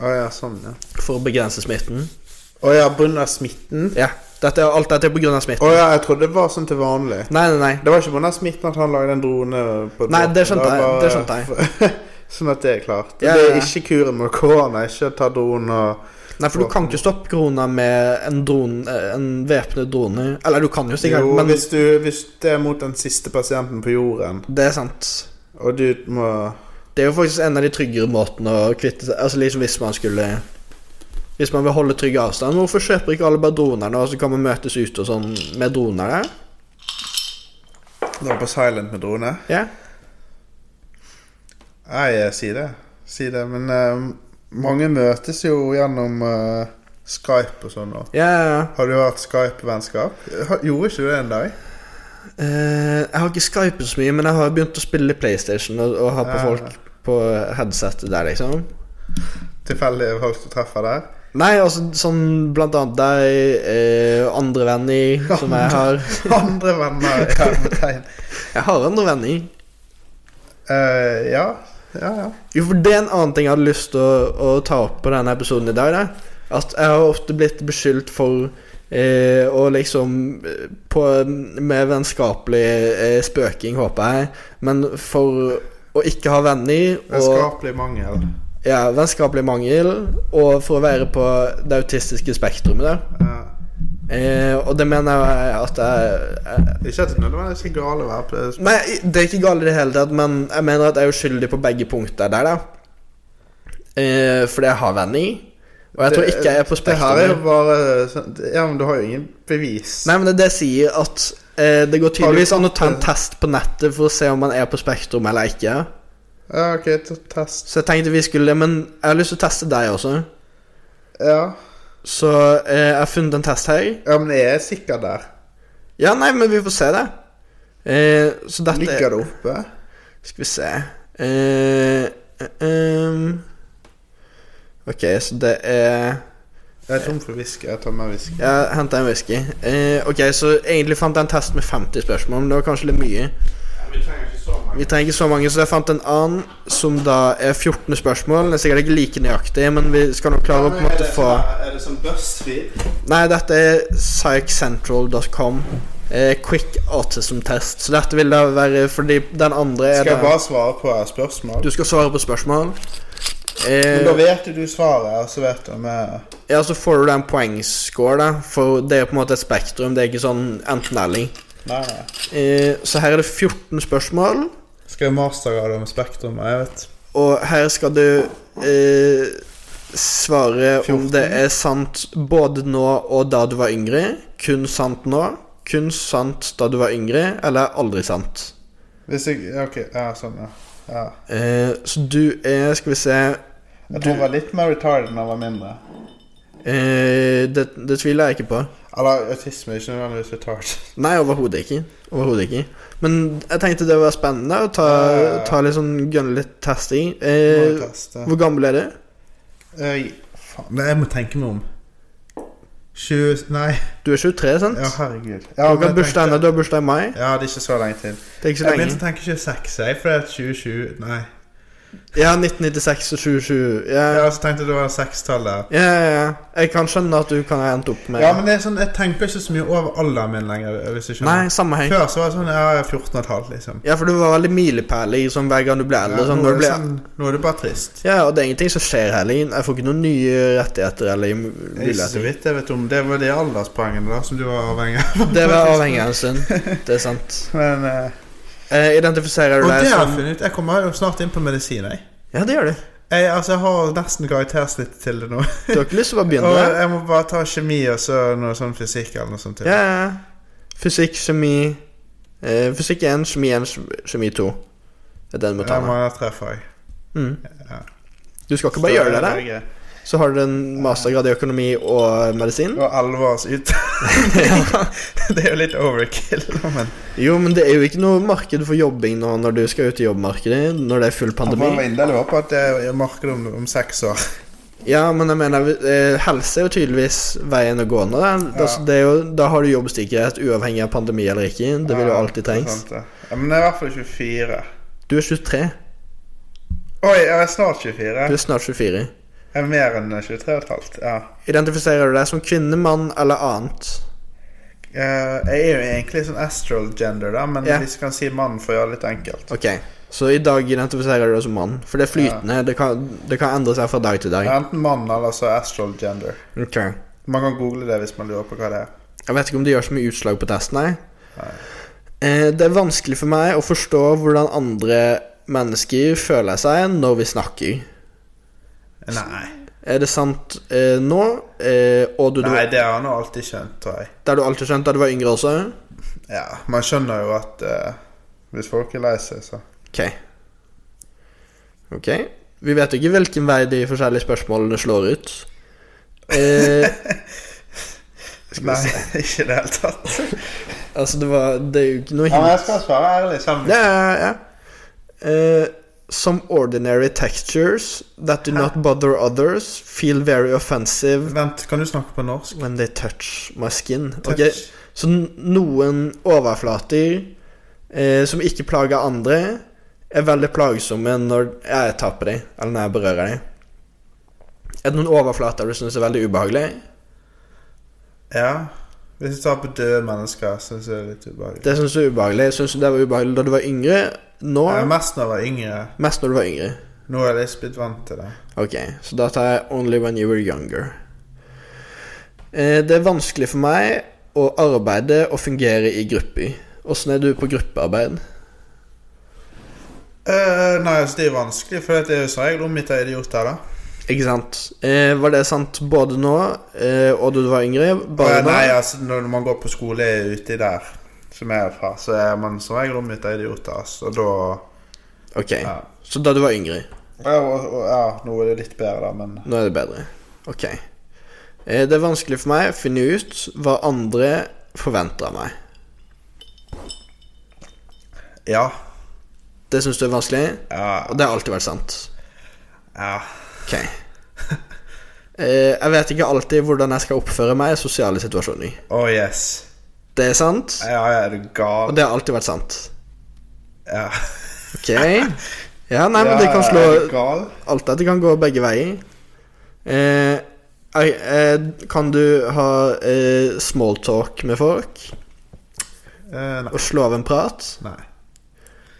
Å ja, sånn, ja. For å begrense smitten. Å ja, pga. smitten? Ja. Dette, er- alt dette er på grunn av Å smitten. ja, jeg trodde det var sånn til vanlig. Nei, nei, nei. Det var ikke pga. smitten at han lagde en drone på Nei, det skjønte jeg, det (laughs) jeg. sånn at det er klart. Ja, Det ja, ja. er ikke kuren mot korona. Ikke ta drone og Nei, for du kan ikke stoppe krona med en drone En væpnet drone. Eller du kan jo sikkert, Jo, men hvis, du, hvis det er mot den siste pasienten på jorden, det er sant. og du må Det er jo faktisk en av de tryggere måtene å kvitte seg Altså liksom hvis man skulle Hvis man vil holde trygg avstand, hvorfor kjøper ikke alle bare droner nå, og så kan man møtes ute og sånn med droner der? dra på silent med drone Ja? Nei, jeg sier det. si det, men eh, mange møtes jo gjennom eh, Skype og sånn. nå. Ja, ja, ja. Har du hatt Skype-vennskap? Ha- Gjorde ikke du det en dag? Eh, jeg har ikke Skype så mye, men jeg har begynt å spille PlayStation og, og ha på Ja. folk på headsetet der, liksom. Tilfeldige folk du treffer der? Nei, altså sånn blant annet deg, eh, andre (laughs) venner som jeg har Andre venner i hermetegn. Jeg har andre venner. Eh, ja. Ja, ja. Jo, for det er en annen ting jeg hadde lyst til å, å ta opp på denne episoden i dag. Da. At jeg har ofte blitt beskyldt for eh, å liksom eh, på, Med vennskapelig eh, spøking, håper jeg, men for å ikke ha venner og Vennskapelig mangel. ja, vennskapelig mangel, og for å være på det autistiske spektrumet der. Ja. Eh, og det mener jeg at jeg, jeg Ikke at det nødvendigvis er galt å være på Nei, det er ikke galt i det hele tatt, men jeg mener at jeg er uskyldig på begge punkter der, da. Eh, fordi jeg har venner. Og jeg tror ikke jeg er på Det her er jo spekteret. bare sånn- Ja, men du har jo ingen bevis. Nei, men det, er det jeg sier at eh, det går tydeligvis an å ta en fått det? test på nettet for å se om man er på spektrum eller ikke. Ja, OK, ta test. Så jeg tenkte vi skulle Men jeg har lyst til å teste deg også. Ja. Så eh, jeg har funnet en test her. ja, men jeg er sikker der. Ja, nei, men vi får se det. Eh, så dette Ligger det oppe? Skal vi se eh, ehm. Ok, så det er Jeg er tom for whisky. Jeg tar med whisky. Jeg henta en whisky. Eh, ok, Så egentlig fant jeg en test med 50 spørsmål, men det var kanskje litt mye. Vi trenger ikke så mange. Vi trenger ikke så mange, så jeg fant en annen som da er 14 spørsmål. Det er sikkert ikke like nøyaktig, men vi skal nok klare å på en måte få Er det sånn BuzzFeed? Nei, dette er psychcentral.com. Eh, quick autism test. Så dette vil da være fordi den andre er Skal jeg da- bare svare på et spørsmål? Du skal svare på spørsmål. Men da Eh, vet du svaret, og så vet du om jeg ja, så får du da en poengscore, da. For det er på en måte et spektrum. Det er ikke sånn enten-eller. Nei, nei. Eh, så her er det 14 spørsmål. Skal jeg mastergrade om spektrumet? Jeg vet. Og her skal du eh, svare om 14. det er sant både nå og da du var yngre. Kun sant nå. Kun sant da du var yngre, eller aldri sant. Hvis jeg ja, OK. Ja, sånn, ja. ja. Eh, så du er Skal vi se Jeg tror jeg var litt mer retarded da jeg var mindre. eh, det, det tviler jeg ikke på. Eller autisme er ikke nødvendigvis retarded. Nei, overhodet ikke. Overhodet ikke. Men jeg tenkte det var spennende å ta, Ja, ja, ja. ta litt sånn gønne litt testing. Må Eh, jeg teste? hvor gammel er du? Øy, Eh, faen. Nei, jeg må tenke meg om. 20 Nei. Du er 23, sant? Ja, herregud. Du Ja, har men ikke jeg bursdag tenkte- ennå, du har bursdag i mai. Ja, det er ikke så lenge til. Det er ikke så Jeg lenge. begynte å tenke 26, jeg, for det er 2020 Nei. Ja, 1996 og 2020. Ja, Ja, så tenkte jeg det var 6-tallet. der. ja, ja, ja. Jeg kan skjønne at du kan ha endt opp med Ja, men det er sånn, jeg tenker ikke så mye over alderen min lenger. hvis du skjønner. Nei, samme her. Før så var det sånn ja, jeg er 14 og et halvt, liksom. Ja, for du var veldig milepæl i sånn hver gang du ble Ja, eldre. sånn, nå, når er du det ble... sånn, nå er det bare trist. Ja, og det er ingenting som skjer heller. Jeg får ikke noen nye rettigheter eller mu- Det er ikke så muligheter. vidt jeg vet om. Det var de alderspoengene da, som du var avhengig av. Det (laughs) var avhengig av en stund. Det er sant. Men, eh, Eh, identifiserer og du deg det har jeg som funnet ut. Jeg kommer jo snart inn på medisin, jeg. Ja, det gjør du. Jeg, altså, jeg har nesten karaktersnitt til det nå. Du har ikke lyst til å bare begynne (laughs) og eh, der? jeg må bare ta kjemi og så noe sånn fysikk eller noe sånt. til. Ja, ja. ja. Fysikk, kjemi eh, Fysikk 1, kjemi 1, kjemi 2. Det er den du må ta Jeg må med. ha tre fag. Du skal ikke bare gjøre det der. Norge. Så har du en mastergrad i økonomi og medisin. Og elleve års (laughs) utdanning. det er jo litt overkill, men Jo, men det er jo ikke noe marked for jobbing nå når du skal ut i jobbmarkedet, når det er full Jeg pandemi. må inderlig håpe at det er marked om, om seks år. Ja, men jeg mener, eh, helse er jo tydeligvis veien å gå nå. Da, altså, det er jo, da har du jobbsikkerhet uavhengig av pandemi eller ikke. Det vil jo alltid trengs. Sant det. sånn Ja, men jeg er i hvert fall 24. Du er 23. Oi, jeg er snart Du 24. er snart 24. Jeg er mer enn 23,5. Ja. Identifiserer du deg som kvinne, mann eller annet? Eh, Jeg er jo egentlig sånn astral gender, da, men Ja. hvis jeg kan si mann for å gjøre det litt enkelt. Ok, så i dag identifiserer du deg som mann. For det er flytende. Det, kan, det kan endre seg fra dag til dag. Enten mann eller så astral gender. Ok. Jeg Man kan google det hvis man lurer på hva det er. vet ikke om det gjør så mye utslag på testen, nei. Eh, det er vanskelig for meg å forstå hvordan andre mennesker føler seg når vi snakker. Nei, Er det sant eh, nå? Eh, og du, du, Nei det har han jo alltid skjønt, tror jeg. det har du alltid skjønt da du var yngre også? Ja, Man skjønner jo at eh, hvis folk er lei seg, så Ok. Ok. Vi vet ikke hvilken vei de forskjellige spørsmålene slår ut. Eh, (laughs) Nei, (laughs) ikke i det hele tatt. altså, det var Det er jo ikke noe Ja, men hint. jeg skal svare ærlig sammen. Ja, ja, ja. Eh, some ordinary textures that do not bother others feel very offensive Vent, kan du snakke på norsk? when they touch my skin. Touch. Ok, Så n- noen overflater eh, som ikke plager andre, er veldig plagsomme når jeg tar på dem, eller når jeg berører dem. Er det noen overflater du syns er veldig ubehagelig? Ja. Hvis du tar på døde mennesker, syns jeg det er litt ubehagelig. Det syns du er ubehagelig. Syns du det var ubehagelig da du var yngre? Nå? Jeg er mest når jeg var yngre. Mest når du var yngre. Nå er jeg litt blitt vant til det. Ok, så da tar jeg Only When You Were Younger. Eh, det er vanskelig for meg å arbeide og fungere i grupper. Åssen er du på gruppearbeid? Eh, nei, altså det er vanskelig, for det er jo som regel omgitt av idioter, da. Ikke sant? Eh, var det sant både nå eh, og da du var yngre? Bare Eh, nå? nei, altså når man går på skole uti der, som jeg er fra, så er man som regel omgitt av idioter, altså. Og da Ok, Ja. så da du var yngre. ja, og, og, ja, nå er det litt bedre, da, men Nå er det bedre. Ok. Eh, det er vanskelig for meg å finne ut hva andre forventer av meg. Ja. Det syns du er vanskelig, Ja. og det har alltid vært sant. ja. Ok. (laughs) Eh, jeg vet ikke alltid hvordan jeg skal oppføre meg i sosiale situasjoner. Oh yes. Det er sant, Ja, ja, er du og gal? det har alltid vært sant. Ja. (laughs) Ok. Ja, nei, men det kan Ja, Er du slå gal? Alt dette kan gå begge veier. Eh, ei- eh, kan du ha eh, smalltalk med folk Eh, nei. og slå av en prat? nei.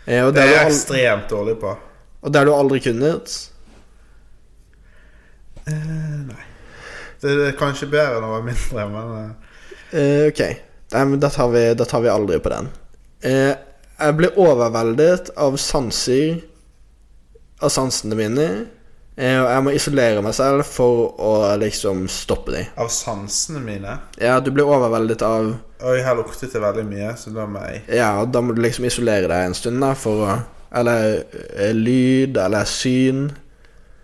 Eh, og, der Det er du jeg al- ekstremt dårlig på. og der du aldri kunnet? Eh, Det er kanskje bedre når man er mindre, men eh, Eh, ok. Nei, men da tar, vi, da tar vi aldri på den. Eh, jeg blir overveldet av sanser Av sansene mine. Eh, og jeg må isolere meg selv for å liksom stoppe dem. av sansene mine Ja, du blir overveldet av Og her luktet det veldig mye, så da må jeg Ja, og da må du liksom isolere deg en stund, da, for å Eller eh, lyd, eller syn.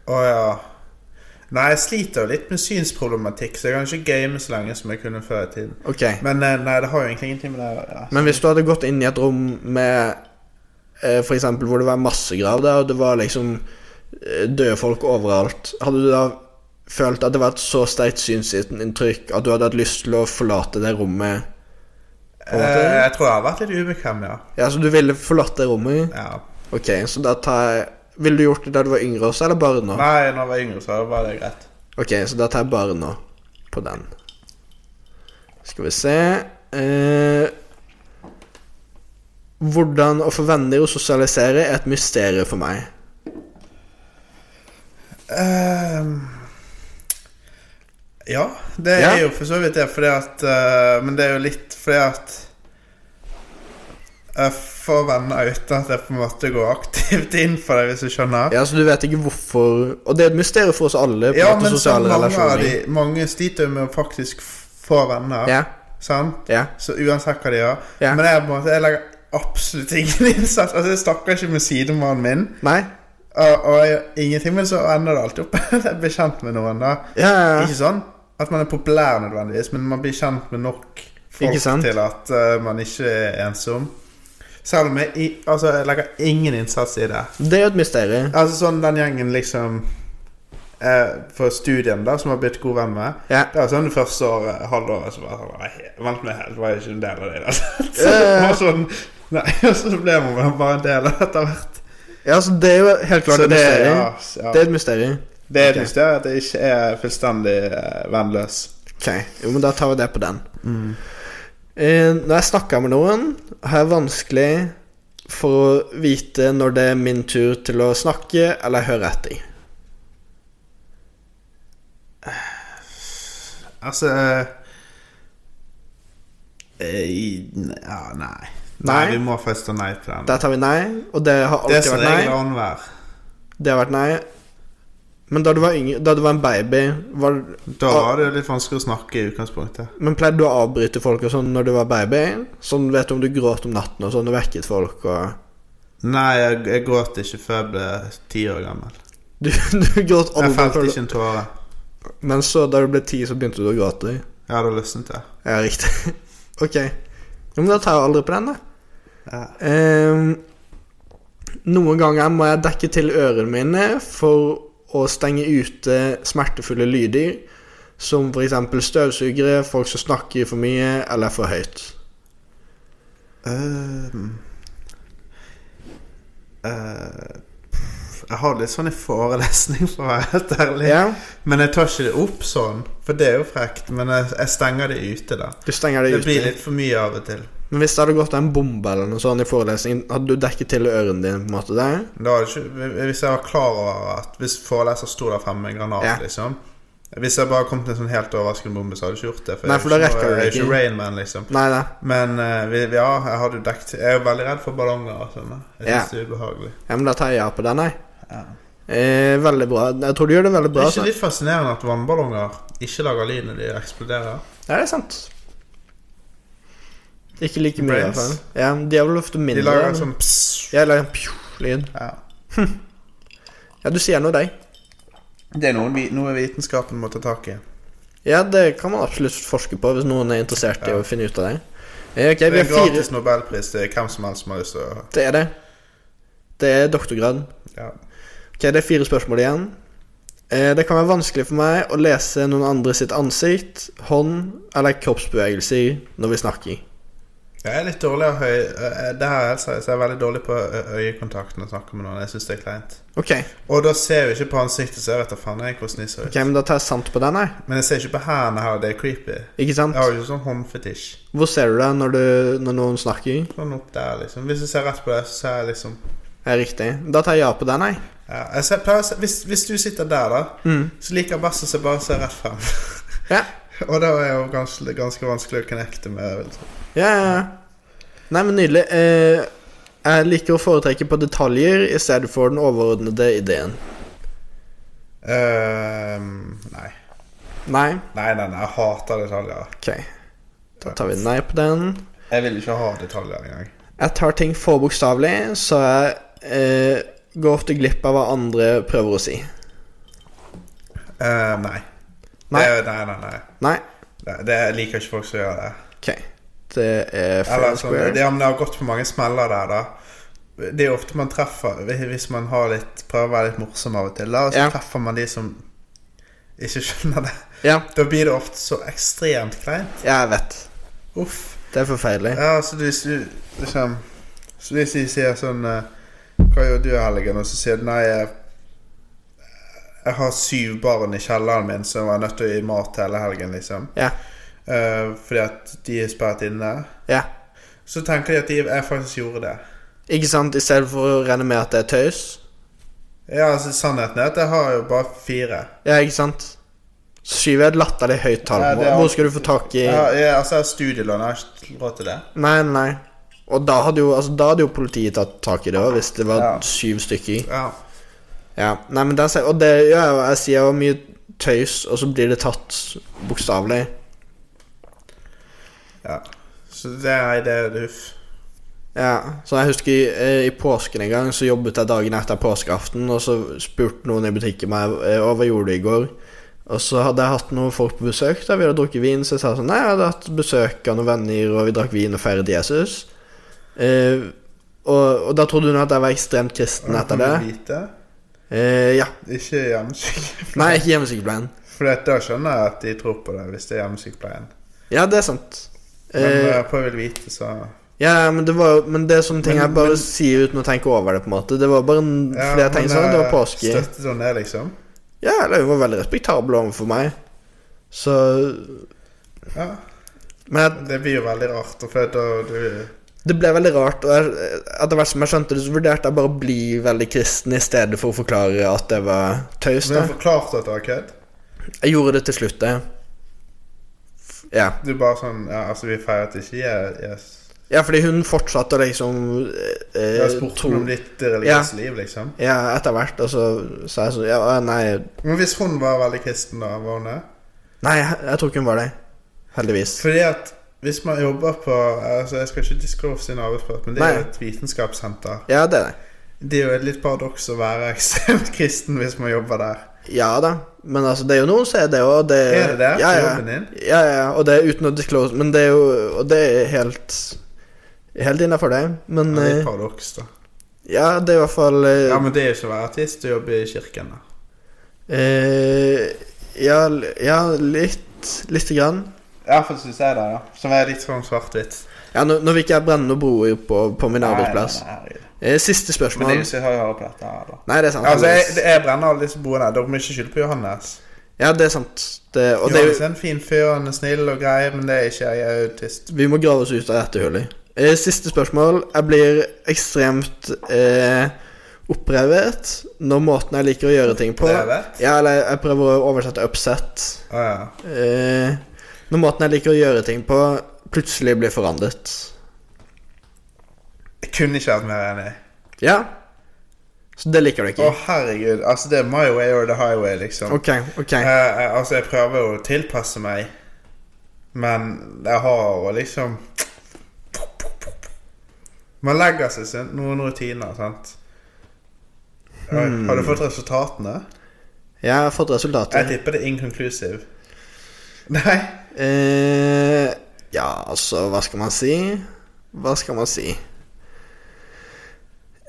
Å ja. Nei, jeg sliter jo litt med synsproblematikk, så jeg kan ikke game så lenge som jeg kunne før i tiden. Ok. Men, Men eh, nei, det har jo egentlig ingenting med det å gjøre. Ja. hvis du hadde gått inn i et rom med eh, For eksempel hvor det var massegrav der, og det var liksom eh, døde folk overalt, hadde du da følt at det var et så sterkt synsinntrykk at du hadde hatt lyst til å forlate det rommet? på en Eh, måte? jeg tror jeg har vært litt ubekvem, ja. Ja, så du ville forlatt det rommet? ja. Ok, så da tar jeg Ville du gjort det da du var yngre også, eller bare nå? Nei, når jeg var yngre, så var det greit. Ok, så da tar jeg bare nå på den. Skal vi se eh, Hvordan å få venner og sosialisere er et mysterium for meg. Ehm, ja, det Ja. er jo for så vidt det, fordi at eh, Men det er jo litt fordi at jeg får venner uten at jeg på en måte går aktivt inn for det, hvis du skjønner. Ja, så Du vet ikke hvorfor Og det er et mysterium for oss alle. på Ja, en måte, men så sosiale mange relasjoner. av de Mange sliter jo med å faktisk få venner. Ja, Sant? ja. Så uansett hva de gjør. Ja. Men jeg, på en måte, jeg legger absolutt ingen (laughs) innsats. Altså, Jeg snakker ikke med sidemannen min. Nei? Og, og jeg, ingenting, men så ender det alltid opp at jeg blir kjent med noen. da Ja, ja, ja. Ikke sånn at man er populær nødvendigvis, men man blir kjent med nok Ikke folk sant? til at eh, man ikke er ensom. Selv om jeg, i- altså, jeg legger ingen innsats i det. Det er jo et mysterium. Altså sånn den gjengen liksom eh, For studien da, som har blitt god venn med Ja. Det var sånn det første året, halvåret Så bare sånn, nei, vent meg helt, var jeg ikke en del av det da Så (laughs) det var sånn, nei, (laughs) og så ble man bare en del av det etter hvert Ja, så Det er jo helt klart Så et det, mysterium. ja, s- ja. Det er et mysterium. Det er Ok. et mysterium at jeg ikke er fullstendig eh, vennløs Ok, jo, men da tar vi det på den. Mm. Eh, når jeg snakker med noen, har jeg vanskelig for å vite når det er min tur til å snakke eller høre etter. Altså eh, i- Ja, nei Nei, Nei. vi må først ta nei til den Der tar vi nei, og det har Det er alltid som vært regel nei. anvær Det har vært nei. Men da du var, yngre, da du var en baby, var, Ah, Da var det jo litt vanskelig å snakke i utgangspunktet men pleide du å avbryte folk og sånn når du var baby? Sånn vet du om du gråt om natten og sånn og (laughs) vekket folk og Nei, jeg, jeg gråt ikke før jeg ble ti år gammel. Du, du gråt Jeg aldri, felte før ikke du- en tåre. men så da du ble ti, så begynte du å gråte. Jeg hadde løsnet det. Ja, riktig. (laughs) ok. Ja, men da tar jeg aldri på den, da. Ja. Ehm, noen ganger må jeg dekke til ørene mine for å stenge ute smertefulle lyder, som f.eks. støvsugere, folk som snakker for mye eller for høyt. Øhm. Øh, pff, jeg har litt sånn en forelesning, for å være helt ærlig. Ja. Men jeg tar ikke det opp sånn, for det er jo frekt. Men jeg, jeg stenger det ute, da. Du stenger det Det blir ute. litt for mye av og til. Men hvis det hadde gått en bombe eller noe sånt i forelesningen, hadde du dekket til ørene dine på en måte der? Da er det ikke, hvis jeg var klar over at Hvis foreleser sto der fremme med en granat, Ja. liksom Hvis jeg bare kom til en sånn helt overraskende bombe, så hadde jeg ikke gjort det. Nei, jeg er for da ikke rekker noe- du Jeg er ikke. ikke Rainman, liksom. Nei da. Men eh, vi, ja, jeg hadde jo dekt Jeg er jo veldig redd for ballonger og sånn. da. Jeg Ja. syns det er ubehagelig. Ja, men da tar jeg ja på den, jeg. Eh, veldig bra. Jeg tror du gjør det veldig Det bra. er altså. ikke litt fascinerende at vannballonger ikke lager lyd når de eksploderer? Ja, det er sant. Ikke like mye, i hvert fall. Brains. Ja, men de er vel ofte De mindre. lager en men- sånn pss. Jeg lager en pju-lyd. Ja. Ja, du sier noe, deg. Det er noe, vi- noe vitenskapen må ta tak i. Ja, det kan man absolutt forske på hvis noen er interessert i å finne ut av det. Eh, Ok, Det vi er har en fire. gratis nobelpris til hvem som helst som har lyst til å Det er det. Det er doktorgrad. ja. Ok, det er fire spørsmål igjen. Eh, det kan være vanskelig for meg å lese noen andre sitt ansikt, hånd eller kroppsbevegelser når vi snakker. Jeg er litt dårlig av høy... eh, Det her er helt seriøst. Jeg er veldig dårlig på ø- øyekontakt når jeg snakker med noen. Jeg syns det er kleint. Ok, Og da ser jeg jo ikke på ansiktet, så jeg vet da faen jeg hvordan de ser ut. ok, men da tar jeg sant på den her. Men jeg ser ikke på hendene her, det er creepy. Ikke sant? Jeg har jo ikke sånn håndfetisj. Hvor ser du deg når, du, når noen snakker? Sånn opp der, liksom. Hvis jeg ser rett på det, så ser jeg liksom Er riktig. Da tar jeg ja på den her. ja, jeg ser, pleier, å se- hvis, hvis du sitter der, da, så liker jeg best å se bare se rett frem. Mm. Ja. (laughs) Og da er jo ganske, ganske vanskelig å connecte med. Vil jeg tro. Ja, ja, ja. Nei, men nydelig. Eh, jeg liker å foretrekke på detaljer i stedet for den overordnede ideen. Ehm, nei. Nei? nei. Nei, nei, jeg hater detaljer. Ok. Da tar vi nei på den. Jeg vil ikke ha detaljer engang. Jeg tar ting for bokstavelig, så jeg eh, går ofte glipp av hva andre prøver å si. Eh, nei. Nei. Det er- nei, nei, nei. Nei? Det, det jeg liker ikke folk som gjør det. Ok. Det er fair Eller and sånn, square. det, ja, men det har gått på mange smeller der, da. Det er jo ofte man treffer Hvis man har litt, prøver å være litt morsom av og til, da, og så Ja. treffer man de som ikke (laughs) skjønner det. Ja, Da blir det ofte så ekstremt kleint. jeg vet. Uff. Det er forferdelig. Ja, så hvis du liksom Så hvis de sier sånn eh, Hva gjør du i helgen? Og så sier du nei, jeg, jeg har syv barn i kjelleren min som jeg er nødt til å gi mat til hele helgen, liksom. Ja. Eh, fordi at de er sperret inne. ja. Så tenker de at de, jeg faktisk gjorde det. Ikke sant? I stedet for å regne med at det er tøys. Ja, altså Sannheten er at jeg har jo bare fire. Ja, ikke sant? Så skyver jeg et latterlig høyt tall. Ja, det er- Hvor skal du få tak i Jeg, har- jeg, altså, jeg har studielån, jeg har ikke råd til det. Nei, nei. Og da hadde jo, altså, da hadde jo politiet tatt tak i det også, hvis det var Ja. syv stykker. Ja. Ja, nei, men den, ser- Og det gjør jeg jo. Jeg sier jo mye tøys, og så blir det tatt bokstavelig. ja. Så det er det er uff. Ja, så jeg husker i, eh, i påsken en gang, så jobbet jeg dagen etter påskeaften, og så spurte noen i butikken meg eh, «Å, hva gjorde du i går. Og så hadde jeg hatt noen folk på besøk, da vi hadde drukket vin, så jeg sa sånn Nei, jeg hadde hatt besøk av noen venner, og vi drakk vin og feiret Jesus. Eh, og, og da trodde hun at jeg var ekstremt kristen etter det. Kan du vite? Eh, ja. Ikke hjemmesykepleien. (laughs) Nei, ikke hjemmesykepleien. For da skjønner jeg at de tror på det, hvis det er hjemmesykepleien. Ja, det er sant. Men når Eh, jeg prøver å vite, så ja, men det var men det er sånne ting Men- jeg bare men- sier uten å tenke over det, på en måte. Det var bare en, Ja, fordi jeg tenkte men, sånn, det var eh, påske. Støttet hun det, liksom? Ja, eller hun var veldig respektabel overfor meg. Så Ja. Men jeg, Det blir jo veldig rart. og For da du det ble veldig rart. Og jeg, etter hvert som jeg skjønte det, så vurderte jeg bare å bli veldig kristen i stedet for å forklare at det var tøys. Men da. jeg forklarte at det var kødd. Jeg gjorde det til slutt, det. F- Ja. Du bare sånn ja, Altså, vi feiret ikke Je- Jesus. ja, fordi hun fortsatte å liksom eh, eh, Jeg spurte tro- om ditt eh, religiøse liv, liksom. Ja, etter hvert. Og så sa jeg sånn Ja, nei Men hvis hun var veldig kristen, da, var hun det? Nei, jeg, jeg tror ikke hun var det. Heldigvis. Fordi at hvis man jobber på altså Jeg skal ikke disclose sin arbeidsplass, men det er jo Nei. et vitenskapssenter. Ja, det er det. Det er jo et litt paradoks å være (laughs) ekstremt kristen hvis man jobber der. Ja da, men altså, det er jo noen som er det òg. Det, Er det det? Ja, På ja. jobben din? ja, ja. Og det er uten å disclose, men det er jo Og det er helt Helt innafor det. Men Det er eh, et paradoks, da. ja, det er i hvert fall eh, Ja, men det er jo ikke å være artist å jobbe i kirken, da. eh, ja, l- ja, litt. Lite grann. Iallfall syns jeg det, da. Som er litt sånn svart-hvitt. Ja, nå, nå vil ikke jeg brenne noen broer på, på min Nei, nei, arbeidsplass. nei, herregud. Eh, Siste Men det er spørsmål. jo ikke høy høre på dette her, da. Nei, det er sant. Altså, jeg, det- jeg brenner alle disse boene. Dere må ikke skylde på Johannes. Ja, det er sant. Det, og det, er Johannes jo- er en fin fyr, han er snill og grei, men det er ikke jeg. Jeg er autist. vi må grave oss ut av dette hullet. Eh, Siste spørsmål. Jeg blir ekstremt eh, opprevet når måten jeg liker å gjøre ting på Opprevet? Ja, eller jeg prøver å oversette upset. Å ja. Eh, når måten jeg liker å gjøre ting på, plutselig blir forandret. Jeg kunne ikke vært mer enig. Ja. Så det liker du Å, ikke. herregud. Altså, det er my way or the highway, liksom. Ok, ok. Eh, eh, altså, jeg prøver jo å tilpasse meg, men jeg har jo liksom Man legger seg sin, noen rutiner, sant? Oi, Har du fått resultatene? Jeg har fått resultater. Jeg tipper det er inconclusive. Nei. Eh, ja, altså, hva skal man si? Hva skal man si?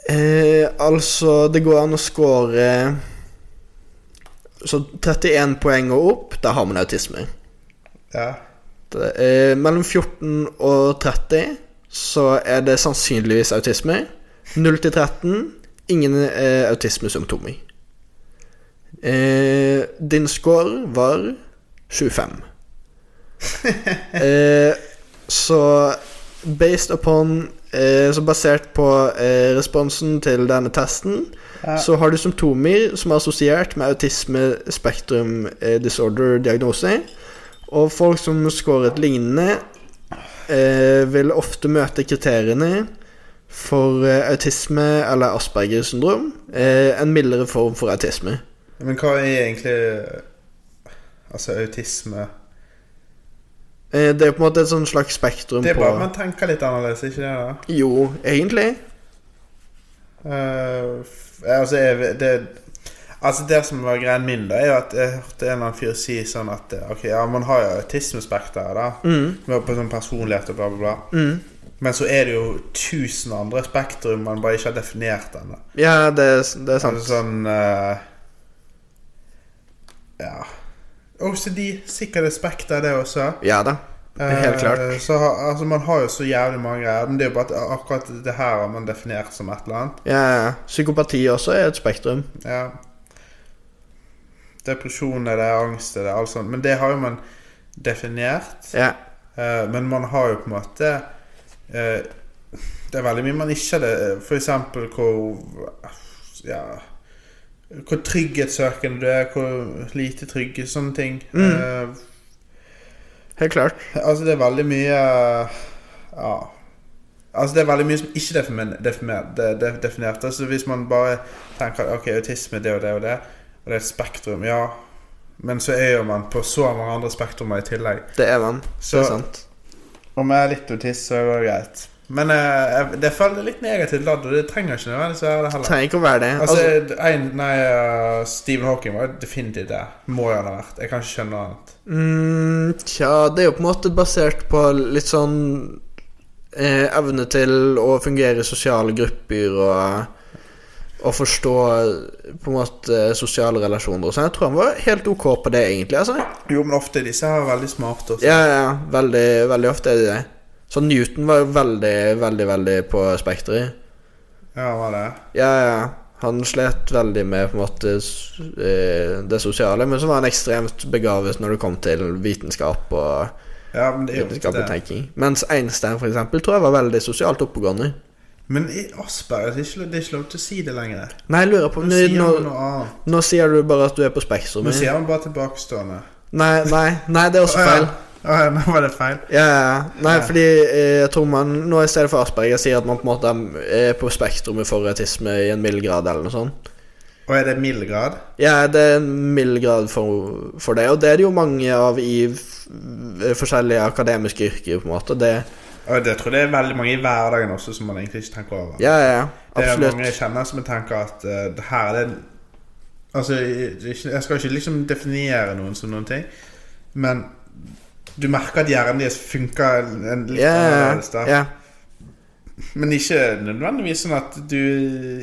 Eh, altså, det går an å score eh, Så 31 poeng og opp, da har man autisme. Ja. Det, eh, mellom 14 og 30 så er det sannsynligvis autisme. 0 til 13 ingen eh, autismesymptomer. Eh, din score var 25. eh, så based upon eh, Så basert på eh, responsen til denne testen, så har du symptomer som er assosiert med autisme spektrum eh, disorder-diagnose. Og folk som scoret lignende, eh, vil ofte møte kriteriene for eh, autisme eller Asperger syndrom. Eh, en mildere form for autisme. Men hva er egentlig Altså, autisme Eh, det er på en måte et sånn slags spektrum Det er på bare at man tenker litt annerledes, ikke det? da? Jo, egentlig. Eh, f- altså, jeg, det, altså det som var greien min da, er jo at jeg hørte en eller annen fyr si sånn at eh, Ok, ja, man har jo autismespekter da. Mm. Med På sånn personlighet og bla, bla, bla. Men så er det jo tusen andre spektrum man bare ikke har definert ennå. Ja, det, er- det er Altså sant. sånn eh, Ja. OCD, sikkert et spekter, det også. Ja da. Det er helt Eh, klart. Så, har- altså, man har jo så jævlig mange greier. Men det er jo bare at akkurat det her har man definert som et eller annet. Ja, ja. Psykopati også er et spektrum. Ja. Depresjon er det, angst er det, alt sånt. Men det har jo man definert. Ja. Eh, men man har jo på en måte eh, Det er veldig mye man ikke hadde For eksempel hvor Ja Hvor trygghetssøkende du er, hvor lite trygge sånne ting. Eh, Helt klart. altså, det er veldig mye Ja. Altså, det er veldig mye som ikke er definert, definert, de- de- definert. Altså, hvis man bare tenker at ok, autisme er det og det og det, og det er et spektrum, ja. Men så er jo man på så mange andre spektrumer i tillegg. Det er man. det Så- er sant. Om jeg er litt autist, så går det greit. Men eh, jeg- det føler litt negativt ladd, og det trenger ikke nødvendigvis være det heller. Trenger ikke å være det. Altså, Altså, en, nei, eh, Stephen Hawking var definitivt det. Må jo han ha vært. Jeg kan ikke skjønne noe annet. mm, tja, det er jo på en måte basert på litt sånn eh, evne til å fungere i sosiale grupper og og forstå på en måte sosiale relasjoner og sånn. Jeg tror han var helt ok på det, egentlig. altså Jo, men ofte er disse her veldig smarte også. Ja, ja, ja. Veldig, veldig ofte er de det. Så Newton var jo veldig, veldig, veldig på spekteret. Ja, var det. Ja, ja. Han slet veldig med på en måte s- eh, det sosiale, men så var han ekstremt begavet når det kom til vitenskap og Ja, men det er jo vitenskapelig ofte det. tenking. Mens Einstein, for eksempel, tror jeg var veldig sosialt oppegående. Men i Asperger det er ikke, lov- det er ikke lov til å si det lenger. Nei, jeg lurer på Nå sier man Nå, noe annet. nå sier du bare at du er på Nå spektrumet. sier man bare tilbakestående. Nei, nei, nei, det er også Å ja. feil. Å ja, (laughs) nå var det feil. Ja, ja. ja. Nei, fordi eh, jeg tror man nå i stedet for Asperger sier at man på en måte er på spektrumet for autisme i en mild grad eller noe sånt. Og er det mild grad? Ja, det er en mild grad for, for eh, det, og det er det jo mange av i f- forskjellige akademiske yrker, på en måte. Det, Å Og det tror jeg det er veldig mange i hverdagen også som man egentlig ikke tenker over. Ja, ja, ja. det er Absolutt. mange jeg kjenner som jeg tenker at eh, det her er det- Altså, jeg, jeg- jeg skal ikke liksom definere noen som noen ting, men du merker at hjernen deres funker en, en litt Ja, ja, annerledes der. ja. Men ikke nødvendigvis sånn at du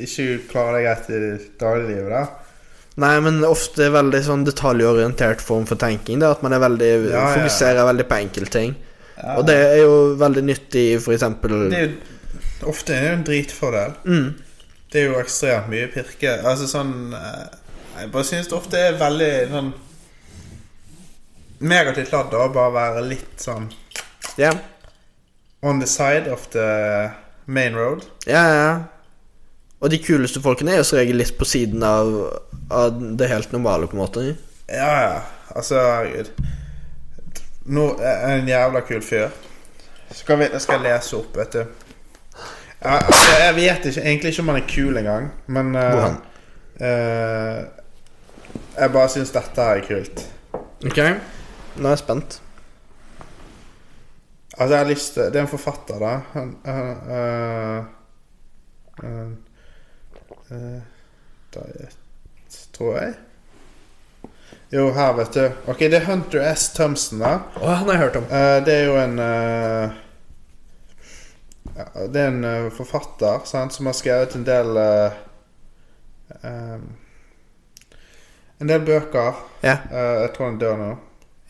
ikke klarer deg greit i dagliglivet. da. Nei, men ofte veldig sånn detaljorientert form for tenking. Da, at man er veldig, Ja, ja. fokuserer veldig på enkeltting. Og det er jo veldig nyttig i for eksempel Det er jo, ofte er det jo en dritfordel. Det er jo ekstremt mye pirke. Altså sånn eh, Jeg bare syns det ofte er veldig sånn Negativt ladd å bare være litt sånn Ja, on the side of the main road. ja, ja. Og de kuleste folkene er jo som regel litt på siden av, av det helt normale, på en måte. Ja, ja. Altså, herregud. Nå er jeg en jævla kul fyr. Skal vi, jeg skal lese opp, vet du. Ja, altså, jeg vet ikke, egentlig ikke om han er kul engang, men eh, Hvor han? eh, Jeg bare syns dette her er kult. Ok Nå er jeg spent. Altså, jeg har lyst til Det er en forfatter, da. Han, han, eh, han, eh, Diet, tror jeg. Jo, her, vet du. Ok, det er Hunter S. Thompson, da. Å, han har jeg hørt om. Eh, det er jo en eh, ja, Det er en eh, forfatter sant, som har skrevet en del eh, eh, En del bøker. Ja, Eh, jeg tror han dør nå.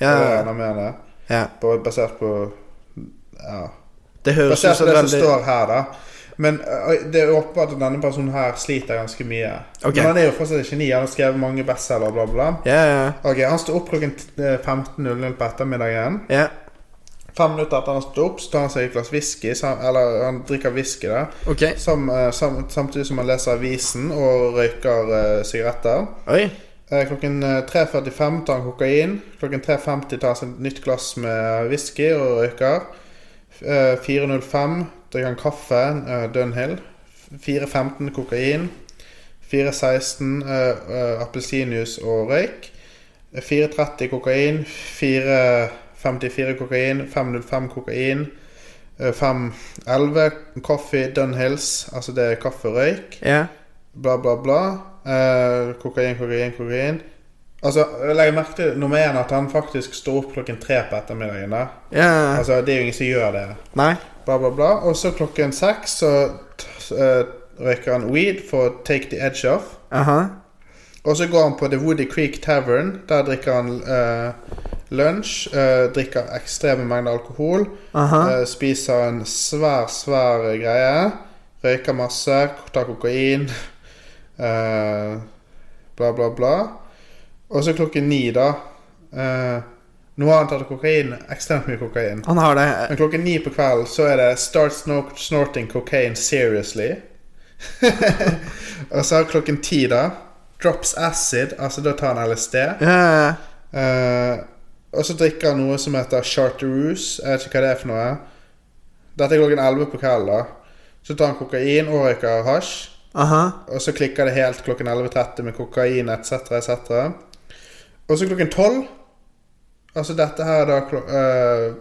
ja, Og ja, enda mer det. ja. Ba- Basert på ja. Det høres ut Basert som på det som veldig står her, da. Men eh, det er åpenbart at denne personen her sliter ganske mye. Ok. Men han er jo fortsatt et geni. Han har skrevet mange bestselgere, bla, bla. bla. Ja, ja, Ok, Han står opp klokken t- eh, 15.00 på ettermiddagen. ja. Fem minutter etter han har stått opp, så tar han seg et glass whisky. sam- Eller han drikker whisky, da. Ok. Sam, eh, sam, samtidig som han leser avisen og røyker eh, sigaretter. Oi. Eh, klokken eh, 3.45 tar han kokain. Klokken 3.50 tar han seg et nytt glass med whisky og røyker. Eh, 4.05 drikker han kaffe, eh, Dunhill. 4.15 kokain. 4.16 eh, eh, appelsinjuice og røyk. 4.30 kokain. 4.54 kokain. 5.05 kokain. eh, 5.11 coffee, Dunhills, altså det er kaffe og røyk Ja. bla, bla, bla. Eh, kokain, kokain, kokain. Altså, Legg merke til nummer én at han faktisk står opp klokken tre på ettermiddagen. da. Ja, ja. Altså, Det er jo ingen som gjør det. Nei. Bla, bla, bla. Og så klokken seks så t- eh, røyker han weed for å take the edge off. Aha. Og så går han på The Woody Creek Tavern. Der drikker han eh, lunsj. eh, drikker ekstreme mengder alkohol. Aha. eh, spiser en svær, svær greie. Røyker masse, tar kokain. (laughs) eh, bla, bla, bla. Og så klokken ni, da. eh, nå har han tatt kokain. Ekstremt mye kokain. Han har det. Men klokken ni på kvelden så er det Start snor- snorting cocaine seriously. (laughs) og så klokken ti, da. Drops acid, altså da tar han LSD. Ja, ja, ja. Eh, og så drikker han noe som heter charterouse. Jeg vet ikke hva det er for noe. Dette er klokken elleve på kvelden, da. Så tar han kokain og røyker hasj. Aha. Og så klikker det helt klokken 11.30 med kokain etc. etc. Og så klokken 12 Altså dette her er da klo øh,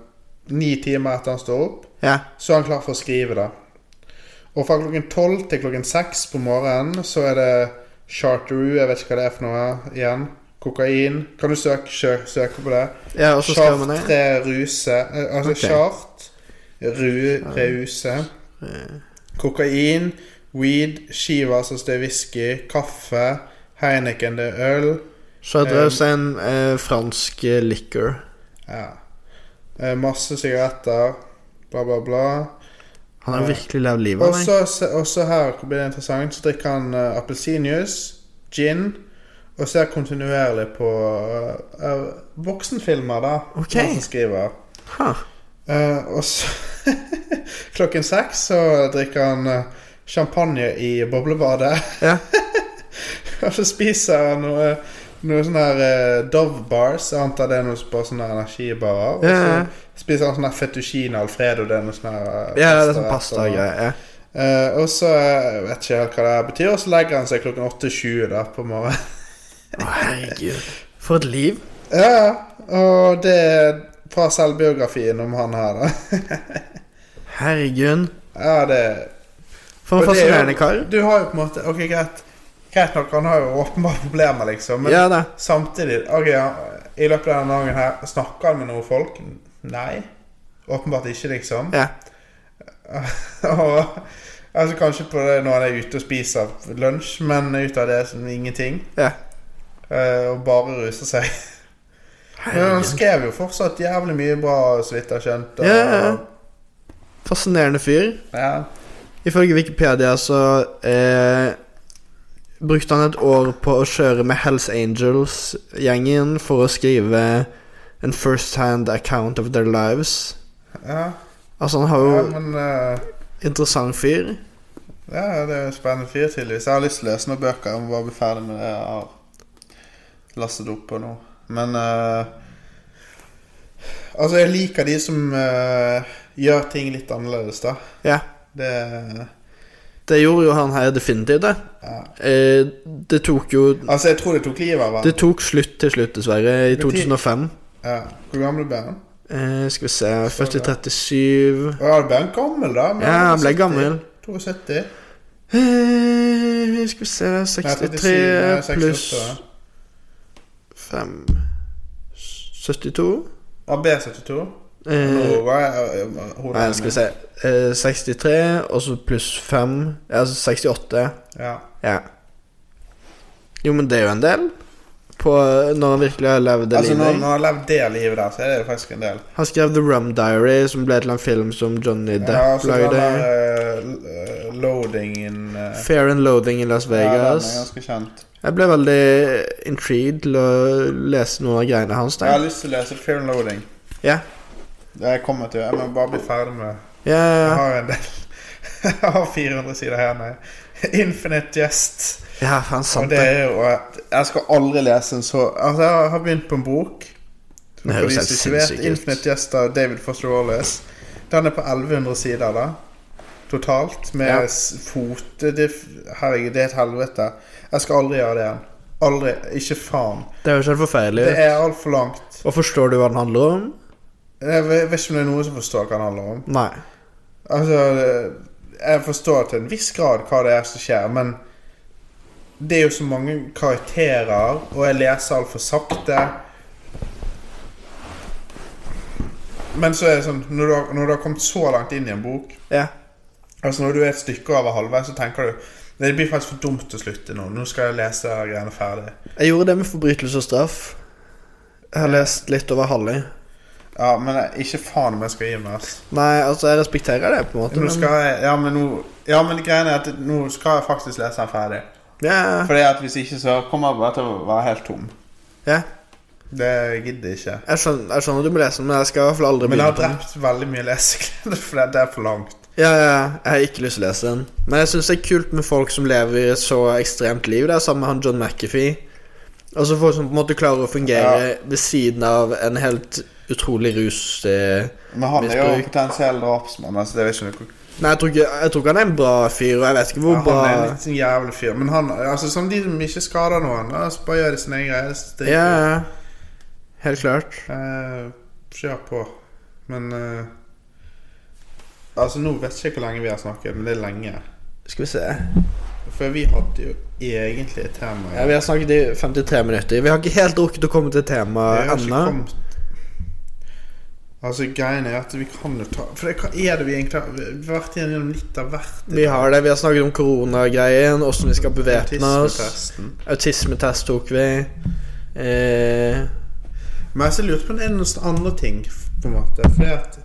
ni timer etter han står opp. Ja. Så er han klar for å skrive, da. Og fra klokken 12 til klokken 6 på morgenen så er det charteroo, jeg vet ikke hva det er for noe igjen. Kokain. Kan du søke, sø- søke på det? Ja, og så skriver man det. Chartre ruse. eh, Altså Ok. chart, ru, ruse. Kokain, weed, Shiva, altså det er whisky, kaffe, Heineken, det er øl. Um, Chartreuse er en eh, fransk eh, liquor. Ja. Eh, Masse sigaretter, bla, bla, bla. Han har virkelig levd livet. Og han, så- så- og så her blir det interessant, så drikker han eh, appelsinjuice, gin, og ser kontinuerlig på eh, eh, voksenfilmer, da. Ok. mens han skriver. Ha. Eh, og så (laughs) Klokken seks så drikker han eh, champagne i boblebadet. Ja. (laughs) og så spiser han noe, noe sånn her eh, Dove bars. Jeg antar det er noe på sånne energibarer. Og Ja, ja. så spiser han sånn her fettuccine alfredo. Det er noe sånn her eh, ja, det er sånn pastarett og- pastagreier. Eh, og så eh, jeg vet ikke helt hva det her betyr, og så legger han seg klokken 8.20 da på morgenen. (laughs) Å, herregud. For et liv. ja, ja. Og det er fra selvbiografien om han her, da. (laughs) Herregud. Ja, det For en Og det er jo- fascinerende kar. Du har jo på en måte Ok, greit. Greit nok, han har jo åpenbare problemer, liksom. Men Ja da. samtidig ok, ja, I løpet av denne dagen her Snakker han med noen folk? Nei. Åpenbart ikke, liksom. Ja. (laughs) og altså, kanskje på det når han er ute og spiser lunsj, men ut av det er sånn ingenting. ja. eh, og bare ruser seg. Men han skrev jo fortsatt jævlig mye bra, så vidt jeg har skjønt. og- Ja, ja, ja. Fascinerende fyr. ja. Ifølge Wikipedia så eh, brukte han et år på å kjøre med Hells Angels-gjengen for å skrive en first hand account of their lives. Ja, Altså, han har jo ja, men eh, interessant fyr. Ja, det er jo en spennende fyr, tydeligvis. Jeg har lyst til å lese noen bøker. Jeg må bare bli ferdig med det jeg har lastet opp på nå. Men eh, Altså, jeg liker de som eh, gjør ting litt annerledes, da. Ja. Det Det gjorde jo han her definitivt, det. Eh, det tok jo Altså, jeg tror det tok livet av ham. Det tok slutt til slutt, dessverre, i 2005. Ja. Hvor gammel ble han? Eh, skal vi se Født i 37 Å, Ja, han ble han gammel, da? Men Ja, han ble 70. gammel. 72? eh, Skal vi se 63 pluss 5 72 AB72? eh, Nei, Nei, skal vi se eh, 63, og så pluss 5 Ja, altså 68. Ja. Ja. Jo, men det er jo en del. På Når han virkelig har levd det Altså, når livet. man har levd det livet der, så er det jo faktisk en del. Han skrev The Rum Diary, som ble til en film som Johnny Ja, Depp altså den lagde. der eh, loading in eh, Fair and Loathing i Las ja, den Vegas. er ganske kjent. Jeg ble veldig intrigued til å lese noen av greiene hans Jeg har der. lyst til å lese Fair and Loading. Ja, Det jeg kommer til. Jeg må bare bli ferdig med ja, ja. ja. Jeg har en del. (laughs) Jeg har 400 sider her, nei. Infinite Jest. ja faen Og sant det det. er jo at Jeg skal aldri lese en så Altså, jeg har begynt på en bok. Det høres helt sinnssykt ut. Infinite Jest av David Foster Wallace. Den er på 1100 sider, da. Totalt. Med Ja. ja. Herregud, det er et helvete. Jeg skal aldri gjøre det igjen. Aldri. Ikke faen. Det høres helt forferdelig Det ut. er altfor langt. Og forstår du hva den handler om? Jeg vet vet ikke om det er noen som forstår hva det handler om. Nei. Altså, jeg forstår til en viss grad hva det er som skjer, men det er jo så mange karakterer, og jeg leser altfor sakte. Men så er det sånn, når du, har, når du har kommet så langt inn i en bok Ja. Altså Når du er et stykke over halvveis, så tenker du Det blir faktisk for dumt å slutte nå. Nå skal jeg lese de greiene ferdig. Jeg gjorde det med forbrytelse og straff. Jeg har lest litt over halve. Ja, men jeg, ikke faen om jeg skal gi meg. ass. Nei, altså, jeg respekterer det, på en måte. Nå Men, skal jeg, ja, men nå, ja, men greien er at nå skal jeg faktisk lese den ferdig. ja, Fordi at hvis ikke, så kommer jeg bare til å være helt tom. ja. Det gidder jeg ikke. Jeg skjønner, jeg skjønner du må lese den, men jeg skal i hvert fall aldri Men begynne jeg har på den. drept veldig mye leseglede, for det- det er for langt. Ja, ja, ja. jeg har ikke lyst til å lese den. Men jeg syns det er kult med folk som lever et så ekstremt liv. Det er sammen med han John McAfee. Altså folk som på en måte klarer å fungere ved siden av en helt utrolig rusmisbruk. Men han er jo Misbruk. potensiell drapsmann. Altså, det er ikke noe Nei, jeg tror, ikke, jeg tror ikke han er en bra fyr, og jeg vet ikke hvor ja, bra Han er en litt sånn jævlig fyr. Men han altså som de som ikke skader noen, da, så bare gjør de sine egne greier. så det- Ja, ja. Helt klart. Eh, Kjør på. Men eh, Altså, nå vet jeg ikke hvor lenge vi har snakket, men det er lenge. Skal vi se. For vi hadde jo egentlig et tema. Ja, vi har snakket i 53 minutter. Vi har ikke helt rukket å komme til Jeg temaet har ikke ennå. kommet- Altså, greien er at vi kan jo ta For det, hva er det vi egentlig har Vi har vært igjennom litt av hvert. Vi har det. Vi har snakket om koronagreien, åssen vi skal bevæpne oss. Autismetesten. Autismetest tok vi. Eh, Men jeg så lurte på om det er noen andre ting, på en måte. Fordi at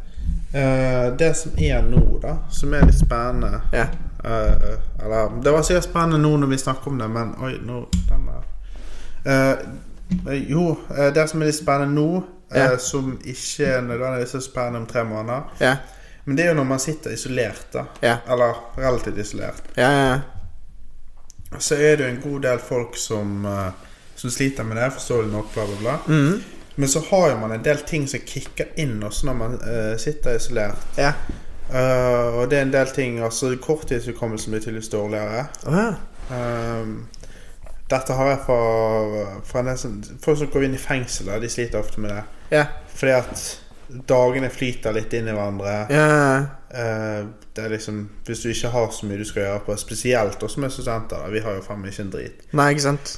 eh, det som er nå, da, som er litt spennende ja. eh, Eller Det var sikkert spennende nå når vi snakker om det, men oi, nå den der. Eh, jo, eh, det som er litt spennende nå, eh, Ja. som ikke er nødvendigvis så spennende om tre måneder, Ja. Men det er jo når man sitter isolert, da. Ja. Eller relativt isolert. Ja, ja. Så er det jo en god del folk som, eh, som sliter med det, forståelig nok, bla, bla, bla. Men så har jo man en del ting som kicker inn også når man eh, sitter isolert. ja. Eh, og det er en del ting altså Korttidshukommelsen blir tydeligvis dårligere. Å, ja. Ehm, dette har jeg fra, fra en del som, folk som går inn i fengsel. da, De sliter ofte med det. ja. Fordi at Dagene flyter litt inn i hverandre. Ja, Eh, det er liksom Hvis du ikke har så mye du skal gjøre på, spesielt oss som er studenter, da. vi har jo faen meg ikke en drit. nei, ikke sant?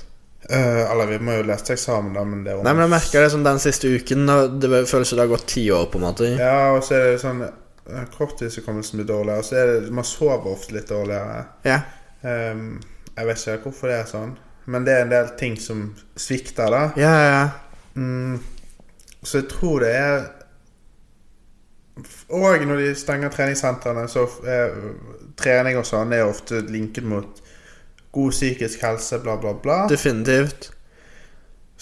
Eh, eller vi må jo lese til eksamen, da, men det er om- Nei, men jeg merker det som den siste uken. og Det føles som det har gått ti år, på en måte. Ja, og så er det sånn eh, Korttidshukommelsen blir dårligere, og så er det Man sover ofte litt dårligere. Ja. Ehm, jeg vet ikke hvorfor det er sånn, men det er en del ting som svikter, da. Ja, ja, ja. Mm, så jeg tror det er Og når de stenger treningssentrene, så er trening og sånn er ofte linket mot god psykisk helse, bla, bla, bla. Definitivt.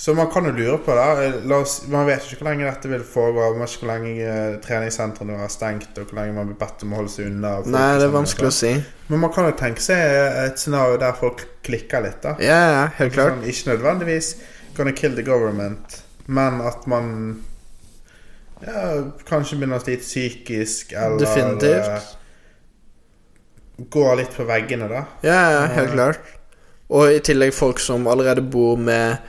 Så man kan jo lure på det. La oss, man vet jo ikke hvor lenge dette vil foregå. Man vet ikke hvor lenge eh, treningssentrene vil være stengt, og hvor lenge man blir bedt om å holde seg unna. og folk Nei, det er sammen og vanskelig å sånn. si. Men man kan jo tenke seg et scenario der folk klikker litt, da. Ja, ja, helt klart. Sånn, ikke nødvendigvis gonna kill the government, men at man ja, kanskje begynner å slite psykisk, eller Definitivt. eh, går litt på veggene, da. Ja, ja, helt klart. Og i tillegg folk som allerede bor med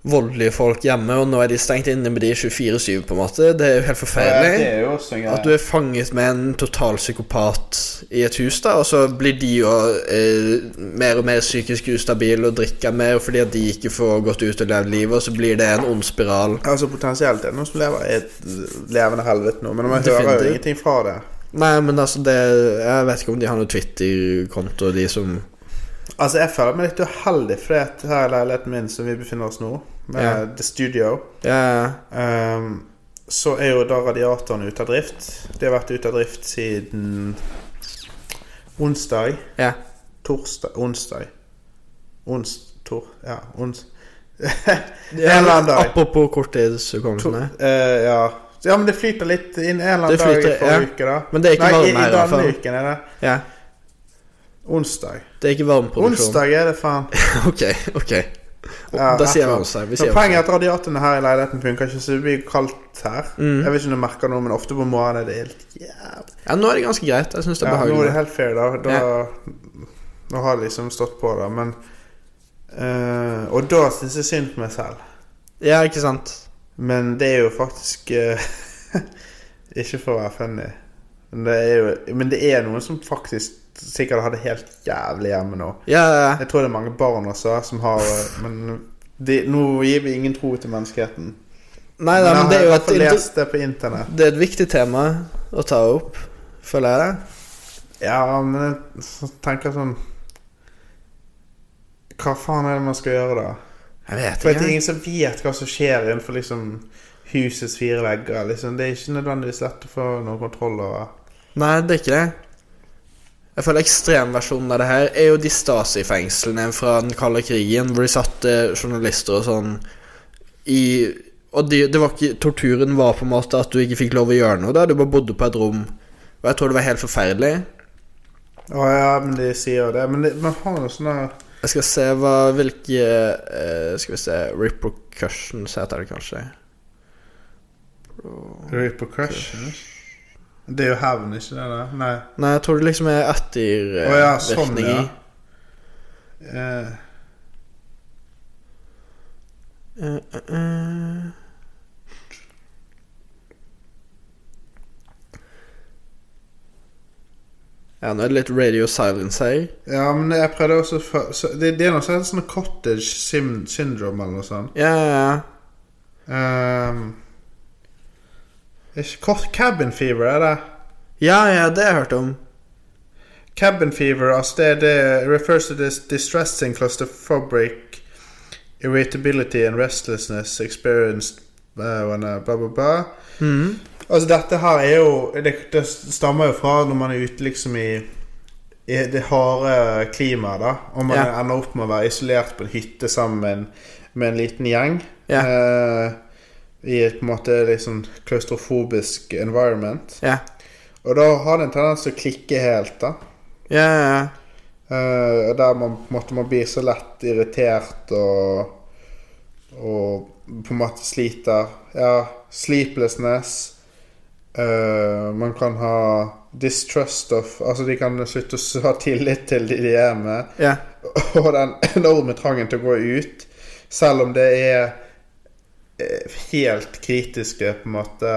voldelige folk hjemme, og nå er de stengt inne med de 24-7, på en måte. Det er jo helt Eh, forferdelig. jo også en At du er fanget med en total psykopat i et hus, da, og så blir de jo eh, mer og mer psykisk ustabile og drikker mer fordi at de ikke får gått ut og levd livet, og så blir det en ond spiral. Altså Potensielt er det noen som lever i et levende helvete nå, men man hører Definitivt. jo ingenting fra det. Nei, men altså, det Jeg vet ikke om de har noe Twitter-konto, de som Altså Jeg føler meg litt uheldig, for det her er leiligheten min som vi befinner oss nå, med Ja. The Studio. Ja, Ehm, så er jo da radiatoren ute av drift. De har vært ute av drift siden onsdag. ja. Torsdag Onsdag. Ons... Tor... Ja, ons... (laughs) en eller annen dag. Apropos korttidshukommelsen. Eh, ja. ja, men det flyter litt inn en eller annen Det flyter, dag i forrige ja. uke, da. Men det er ikke Nei, i, varme her i i hvert fall. denne uken er det Ja. onsdag. Det er ikke varmeproduksjon. Onsdag er det, faen. (laughs) ok, ok. Ja, da sier vi etter. onsdag. Vi Men sier poenget er onsdag. at radiatorene her i leiligheten funker ikke, så det blir kaldt her. Mm. Jeg vet ikke om du merker noe, men ofte på morgenen er det helt jævlig Ja, nå er det ganske greit. Jeg syns det er Ja, nå er det behagelig. helt fair, da. da Nå har det liksom stått på, da. Men eh, Og da syns jeg synd på meg selv. Ja, ikke sant? Men det er jo faktisk eh, (laughs) Ikke for å være funny, men det er jo Men det er noen som faktisk sikkert har det helt jævlig hjemme nå. Ja, ja, ja. Jeg tror det er mange barn også som har eh, Men de, nå gir vi ingen tro til menneskeheten. Nei da, men det jeg er jo har i hvert et, fall inter- lest det på internett. det er et viktig tema å ta opp, føler jeg. Ja, men jeg s- tenker sånn Hva faen er det man skal gjøre, da? Jeg vet For at det er ikke. ingen som vet hva som skjer innenfor liksom husets fire vegger. Liksom. Det er ikke nødvendigvis lett å få noen kontroll over. Nei, det er ikke det. Jeg føler ekstremversjonen av det her er jo de Stasi-fengslene fra den kalde krigen, hvor de satte journalister og sånn i Og de, det var ikke, torturen var på en måte at du ikke fikk lov å gjøre noe. da Du bare bodde på et rom. Og jeg tror det var helt forferdelig. Å ja, men de sier jo det. Men det, man har jo sånn sånne Jeg skal se hva, hvilke eh, Skal vi se Repercussions heter det kanskje. repercussions. Det er jo hevn, ikke det? da? Nei. Nei, jeg tror det liksom er ettervirkninger. Å ja, sånn, ja. Eh, Ja, nå er det litt radio silence her. ja, men jeg prøvde også for, så, det, det er noe sånt sånn cottage sim, syndrome eller noe sånt. Ja, ja, ja. Ehm, ikke, cot- cabin fever, er det? Ja, ja, det har jeg hørt om. Cabin fever, altså det, er det refers to this distressing claustrophobic irritability and restlessness experienced uh, when uh, blah, blah, blah. Mm-hmm. Altså dette her er jo det, det stammer jo fra når man er ute liksom i, i det harde klimaet, da. Og man Ja. ender opp med å være isolert på en hytte sammen med en, med en liten gjeng. Ja. eh, I et på en måte liksom klaustrofobisk environment. Ja. Og da har det en tendens til å klikke helt, da. Ja, ja, ja. Eh, der man på en måte man blir så lett irritert og Og på en måte sliter. Ja, sleeplessness. Eh, man kan ha distrust of Altså, de kan slutte å s- ha tillit til de de er med. (laughs) Ja. Og den enorme trangen til å gå ut, selv om det er eh, helt kritiske på en måte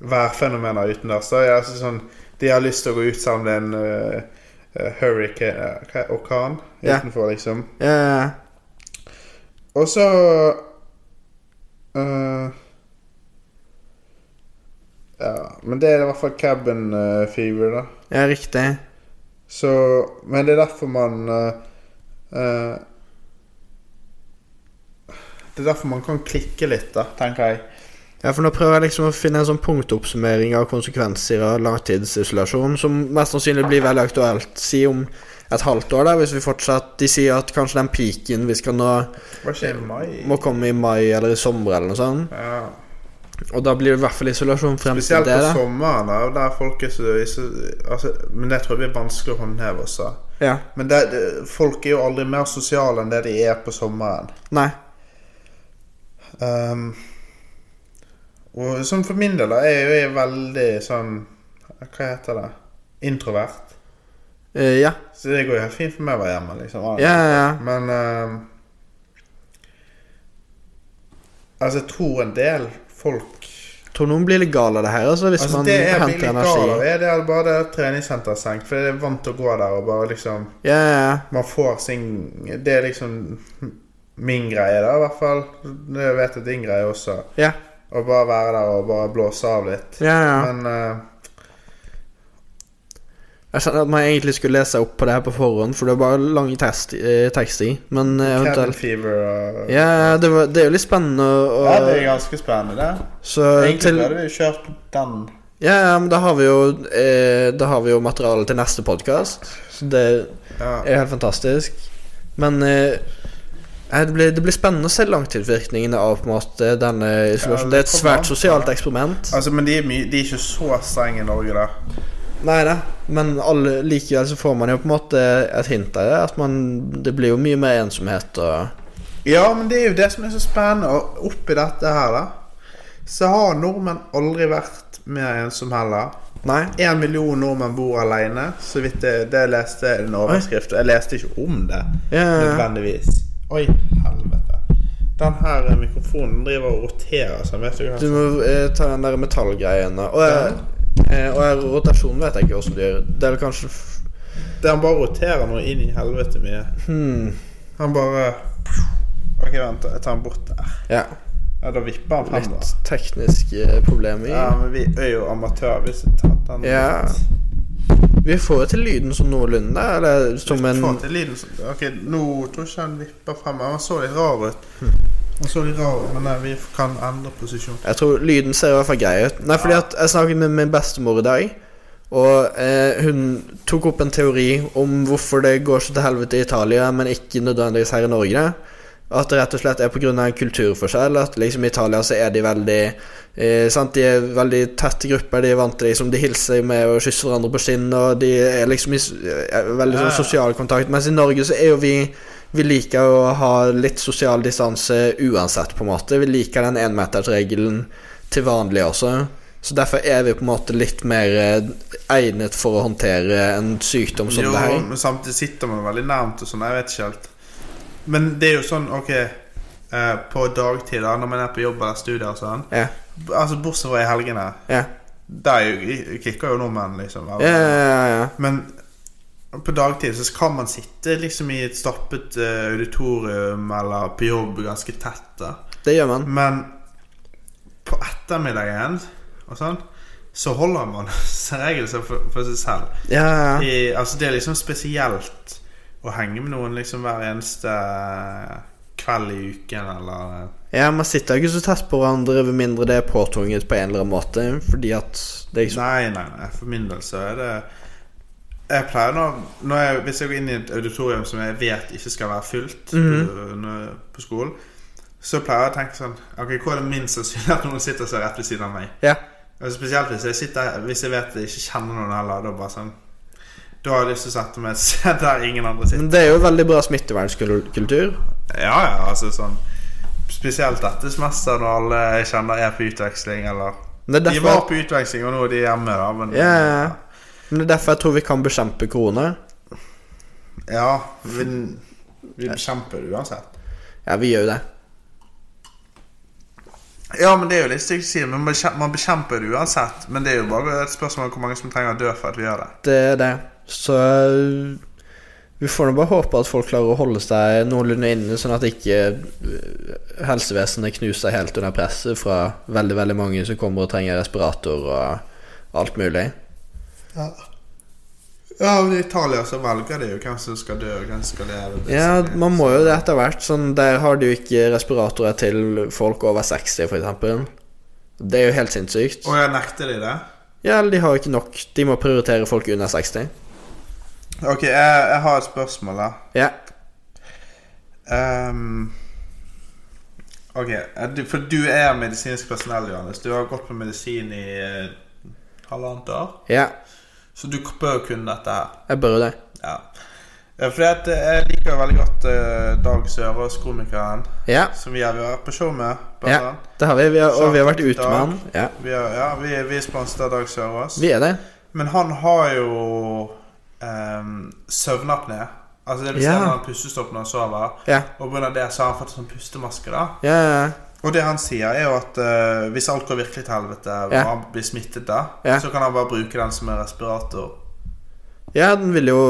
værfenomener utendørs. Så jeg synes sånn, de har lyst til å gå ut sammen med en eh, eh, hurricane eh, hva er- Orkan Ja. utenfor, liksom. Ja, Og så eh, Ja, men det er i hvert fall cabin eh, fever, da. ja, riktig. Så Men det er derfor man eh, eh, Det er derfor man kan klikke litt, da, tenker jeg. Ja, for nå prøver jeg liksom å finne en sånn punktoppsummering av konsekvenser av langtidsisolasjon, som mest sannsynlig blir veldig aktuelt. Si om et halvt år, da, hvis vi fortsatt De sier at kanskje den piken vi skal nå, Var ikke det i mai? må komme i mai eller i sommer eller noe sånt. Ja. Og da blir det i hvert fall isolasjon frem til Spesielt det, på da. sommeren, da, der folk er så, er så altså, Men det tror jeg blir vanskelig å håndheve også. Ja. Men det, det, folk er jo aldri mer sosiale enn det de er på sommeren. Nei. Ehm, og sånn for min del, da, jeg er jo jeg er veldig sånn Hva heter det? Introvert. Eh, ja. Så det går jo helt fint for meg å være hjemme, liksom. Ja, ja, ja. Men ehm, Altså, jeg tror en del folk Tror noen blir litt gal av det her, altså, hvis Altså, man det jeg blir henter litt gal av, energi. er det at bare det treningssenteret er stengt. For jeg er vant til å gå der og bare liksom Ja, ja, ja. Man får sin Det er liksom min greie, da, i hvert fall. Det vet jeg din greie også. Ja, Å bare være der og bare blåse av litt. ja, ja. Men eh, Jeg skjønner at man egentlig skulle lese opp på det her på forhånd, for det er bare lang test, eh, tekst i. Men eh, Cabin eventuelt Fever og Ja, det, var, det er jo litt spennende å Ja, det å- er ganske spennende, det. Så Egentlig Eh, til burde vi kjørt den. Ja, ja, men da har vi jo eh, Da har vi jo materiale til neste podkast. Så det Ja. er helt fantastisk. Men eh, eh, det, blir, det blir spennende å se langtidsvirkningene av på en måte denne isolasjonen. Det er et det kommer svært an på sosialt det. eksperiment. Altså, men de er, my de er ikke så strenge i Norge, da. Nei da, men alle, likevel så får man jo på en måte et hint av det. At man Det blir jo mye mer ensomhet og Ja, men det er jo det som er så spennende. Og oppi dette her, da, så har nordmenn aldri vært mer ensom heller. Nei. Én million nordmenn bor alene. Så vidt det, det leste jeg i en overskrift. Jeg leste ikke om det Ja, ja, ja. nødvendigvis. Oi, helvete. Den her eh, mikrofonen driver og roterer seg. Vet du hva? Du må eh, ta den der metallgreiene. Og, eh, eh, og eh, rotasjonen vet jeg ikke åssen du gjør. Det er vel kanskje f- Den bare roterer noe inn i helvete mye. Hmm. Han bare Ok, vent, jeg tar den bort der. Ja. Ja, Da vipper han frem, da. Litt eh, tekniske problemer. Ja, men vi er jo amatører hvis vi tar den Ja. Vi får jo til lyden sånn noenlunde, eller som en Få til lyden som- Ok, nå tror jeg ikke han vipper frem. Han så litt rar ut. Hmm. Han så litt rar ut, men nei, vi kan endre posisjon. Jeg tror lyden ser i hvert fall grei ut. Nei, fordi at jeg snakket med min bestemor i dag, og eh, hun tok opp en teori om hvorfor det går så til helvete i Italia, men ikke nødvendigvis her i Norge. At det rett og slett er pga. en kulturforskjell. At liksom i Italia så er de veldig eh, sant? De er veldig tette grupper. De er vant til liksom, de hilser med å kysse hverandre på skinn, og de er liksom i s- er veldig sånn sosial kontakt. Mens i Norge så er jo vi vi liker jo å ha litt sosial distanse uansett, på en måte. Vi liker den énmetersregelen til vanlig også. Så derfor er vi på en måte litt mer eh, egnet for å håndtere en sykdom som Jo, det her. men samtidig sitter man veldig nærmt og sånn. Jeg vet ikke helt. Men det er jo sånn, OK eh, På dagtid, da, når man er på jobb eller studier og sånn Ja, B- Altså, Bortsett fra i helgene. ja, Der er jo- kicker jo nordmenn, liksom. ja, ja, ja, Men på dagtid så kan man sitte liksom i et stappet eh, auditorium eller på jobb ganske tett. da ja. Det gjør man. Men på ettermiddagen og sånn, så holder man (laughs) som regel seg for, for seg selv. Ja, ja, ja. I, altså Det er liksom spesielt å henge med noen liksom hver eneste eh, kveld i uken eller ja, man sitter jo ikke så tett på hverandre med mindre det er påtvunget på en eller annen måte. Fordi at det er ikke så Nei, nei, nei, for min del så er det Jeg pleier nå når jeg, Hvis jeg går inn i et auditorium som jeg vet ikke skal være fylt på, Mhm. når- på skolen, så pleier jeg å tenke sånn Ok, hvor er det minst sannsynlig at noen sitter seg rett ved siden av meg? Ja, Og Spesielt hvis jeg sitter Hvis jeg vet jeg ikke kjenner noen heller. Da bare sånn Da har jeg lyst til å sette meg et sted der ingen andre sitter. men det er jo veldig bra smittevernkultur. Ja, ja, altså sånn Spesielt dette semesteret når alle jeg kjenner er på utveksling, eller Men det er De var derfor, på utveksling, og nå er de hjemme, da, men ja, ja, ja. Men det er derfor jeg tror vi kan bekjempe korona. Ja, vi, vi bekjemper det uansett. Ja, vi gjør jo det. Ja, men det er jo litt stygt å si. Men man bekjem- man bekjemper det uansett. Men det er jo bare et spørsmål om hvor mange som trenger å dø for at vi gjør det. Det er det. Så eh, vi får nå bare håpe at folk klarer å holde seg noenlunde inne, sånn at ikke eh, helsevesenet knuser helt under presset fra veldig, veldig mange som kommer og trenger respirator og alt mulig. Ja. ja, men I Italia så velger de jo hvem som skal dø, og hvem som skal leve. Det Ja, som er- man må jo det etter hvert. Sånn, der har de jo ikke respiratorer til folk over 60, f.eks. Det er jo helt sinnssykt. Og jeg nekter de det? Ja, eller de har jo ikke nok. De må prioritere folk under 60. Ok, jeg, jeg har et spørsmål, da. Ja. Ehm, ok, er du, for du er medisinsk personell, Johannes. Du har gått på medisin i eh, halvannet år. ja. Så du bør kunne dette her. Jeg bør jo det. Ja. Eh, Fordi at eh, jeg liker veldig godt eh, Dag Sørås, komikeren, Ja. som vi har vært på show med. Blant ja. annet. Det har vi. vi har, og vi har vært ute Dag. med han. Ja. Vi, har, ja, vi, vi er sponset av Dag Sørås. Vi er det. Men han har jo um, søvnapné. Altså det vil si Ja. at han har pustestopp når han sover. Ja. Og pga. det så har han fått sånn pustemaske. da Ja, ja, ja. Og det han sier, er jo at eh, hvis alt går virkelig til helvete, Ja. og han blir smittet da, Ja. så kan han bare bruke den som en respirator. ja, den vil jo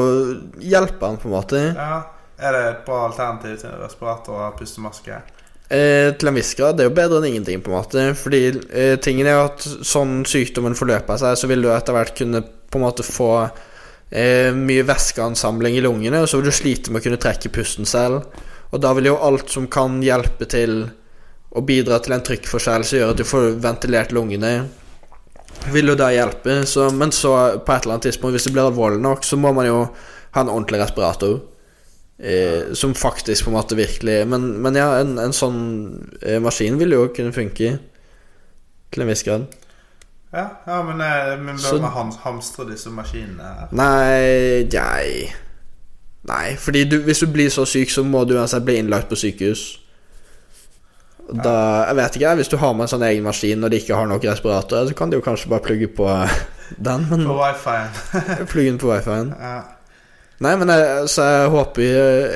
hjelpe han, på en måte. Ja, Er det et bra alternativ til en respirator å ha pustemaske? Eh, til en viss grad. Det er jo bedre enn ingenting, på en måte. Fordi eh, tingen er jo at sånn sykdommen forløper seg, så vil du etter hvert kunne på en måte få eh, mye væskeansamling i lungene, og så vil du slite med å kunne trekke pusten selv. Og da vil jo alt som kan hjelpe til å bidra til en trykkforskjell som gjør at du får ventilert lungene, vil jo da hjelpe. Så, men så, på et eller annet tidspunkt, hvis det blir alvorlig nok, så må man jo ha en ordentlig respirator. Eh, som faktisk på en måte virkelig Men, men ja, en, en sånn eh, maskin vil jo kunne funke til en viss grad. Ja, ja men, eh, men bør Så- Mm. man ham- hamstre disse maskinene her? Nei, nei Nei, fordi du, hvis du blir så syk, så må du uansett bli innlagt på sykehus. Og Da, jeg vet ikke, jeg, Hvis du har med en sånn egen maskin og de ikke har nok respiratorer, så kan de jo kanskje bare plugge på eh, (laughs) den. Men På wifi-en. (laughs) plugge den på wifi-en. ja. Nei, men jeg, så jeg håper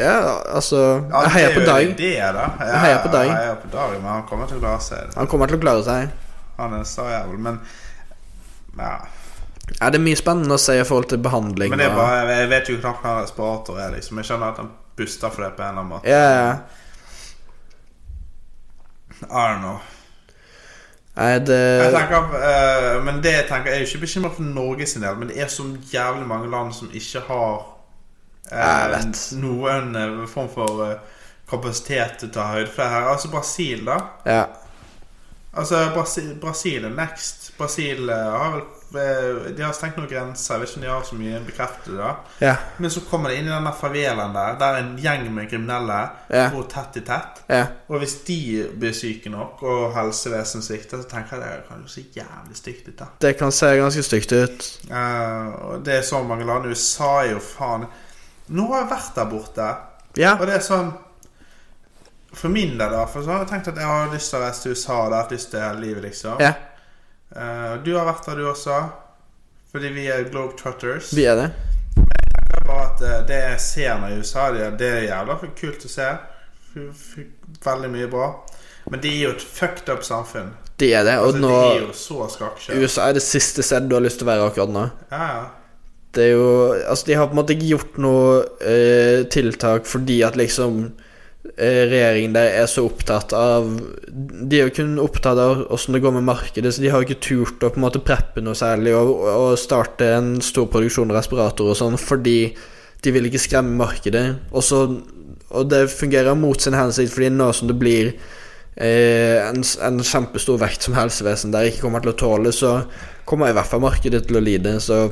Ja, altså Ja, Jeg heier det på er jo en Dag. idé, da. Ja, Jeg heier på Dag. Jeg heier på Dag, men han kommer til å klare seg. Han kommer til å klare seg. Han er en sta jævel, men ja. Ja, det er mye spennende å se i forhold til behandling. Men det er og- bare, jeg vet jo knapt hva en respirator er, liksom. Jeg skjønner at han puster for det på en eller annen måte. Ja, ja. I don't know. Nei, Jeg det tenker, eh, men det jeg tenker, jeg er jo ikke bekymra for Norge sin del, men det er så jævlig mange land som ikke har Ja, jeg eh, vet. noen eh, form for eh, kapasitet til å ta høyde for det her. Altså Brasil, da. Ja. Altså Brasil, Brasil er next. Brasil eh, har vel eh, De har stengt noen grenser. Jeg vet ikke om de har så mye bekreftede, da. Ja. Men så kommer det inn i den der favelaen der, der er en gjeng med kriminelle Ja. bor tett i tett. Ja. Og hvis de blir syke nok, og helsevesenet svikter, så tenker jeg det kan jo se jævlig stygt ut. da Det kan se ganske stygt ut. Eh, Og det er så mange land. USA er jo faen Nå har jeg vært der borte, Ja. og det er sånn For min del, da. For så har jeg tenkt at jeg har lyst til å reise til USA. Det har jeg hatt lyst til hele livet, liksom. ja. Eh, du har vært der, du også. Fordi vi er globetrotters. Vi er det. Det er bare at eh, det jeg ser når jeg er i USA, det er, det er jævla f- kult å se. F- f- Veldig mye bra. Men det er jo et fucked up samfunn. De er det. Og Altså, nå det er jo så skakkjørt. USA er det siste stedet du har lyst til å være akkurat nå. Ja, ja. Det er jo Altså, de har på en måte ikke gjort noe eh, tiltak fordi at liksom eh, regjeringen der er så opptatt av De er jo kun opptatt av åssen det går med markedet, så de har jo ikke turt å på en måte preppe noe særlig og, og starte en stor produksjon av respiratorer og sånn fordi de vil ikke skremme markedet. Og, så, og det fungerer mot sin hensikt, fordi nå som det blir eh, en, s- en kjempestor vekt som helsevesenet der ikke kommer til å tåle, så kommer i hvert fall markedet til å lide. Så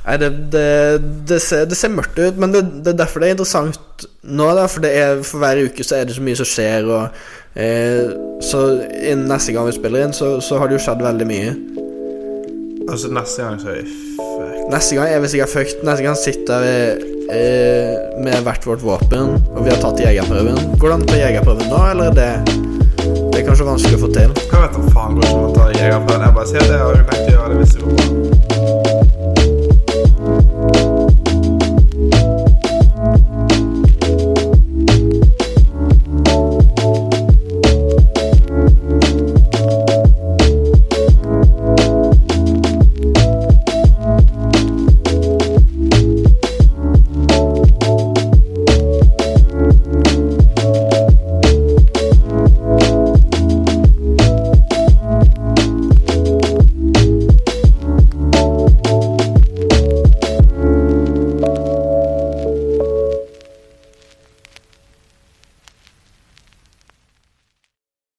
Nei, det, det, det, ser, det ser mørkt ut, men det, det er derfor det er interessant nå. Da, for, det er, for hver uke så er det så mye som skjer, og eh, så innen neste gang vi spiller inn, så, så har det jo skjedd veldig mye. Altså neste gang så er jeg fuck Neste gang er vi sikkert fucked. Neste gang sitter vi eh, med hvert vårt våpen, og vi har tatt jegerprøven. Går det an å ta jegerprøven nå, eller er det Det er kanskje vanskelig å få til? Hva vet du faen går ikke om å ta jegerprøven? Jeg bare sier at jeg har jo tenkt å gjøre det hvis det går bra.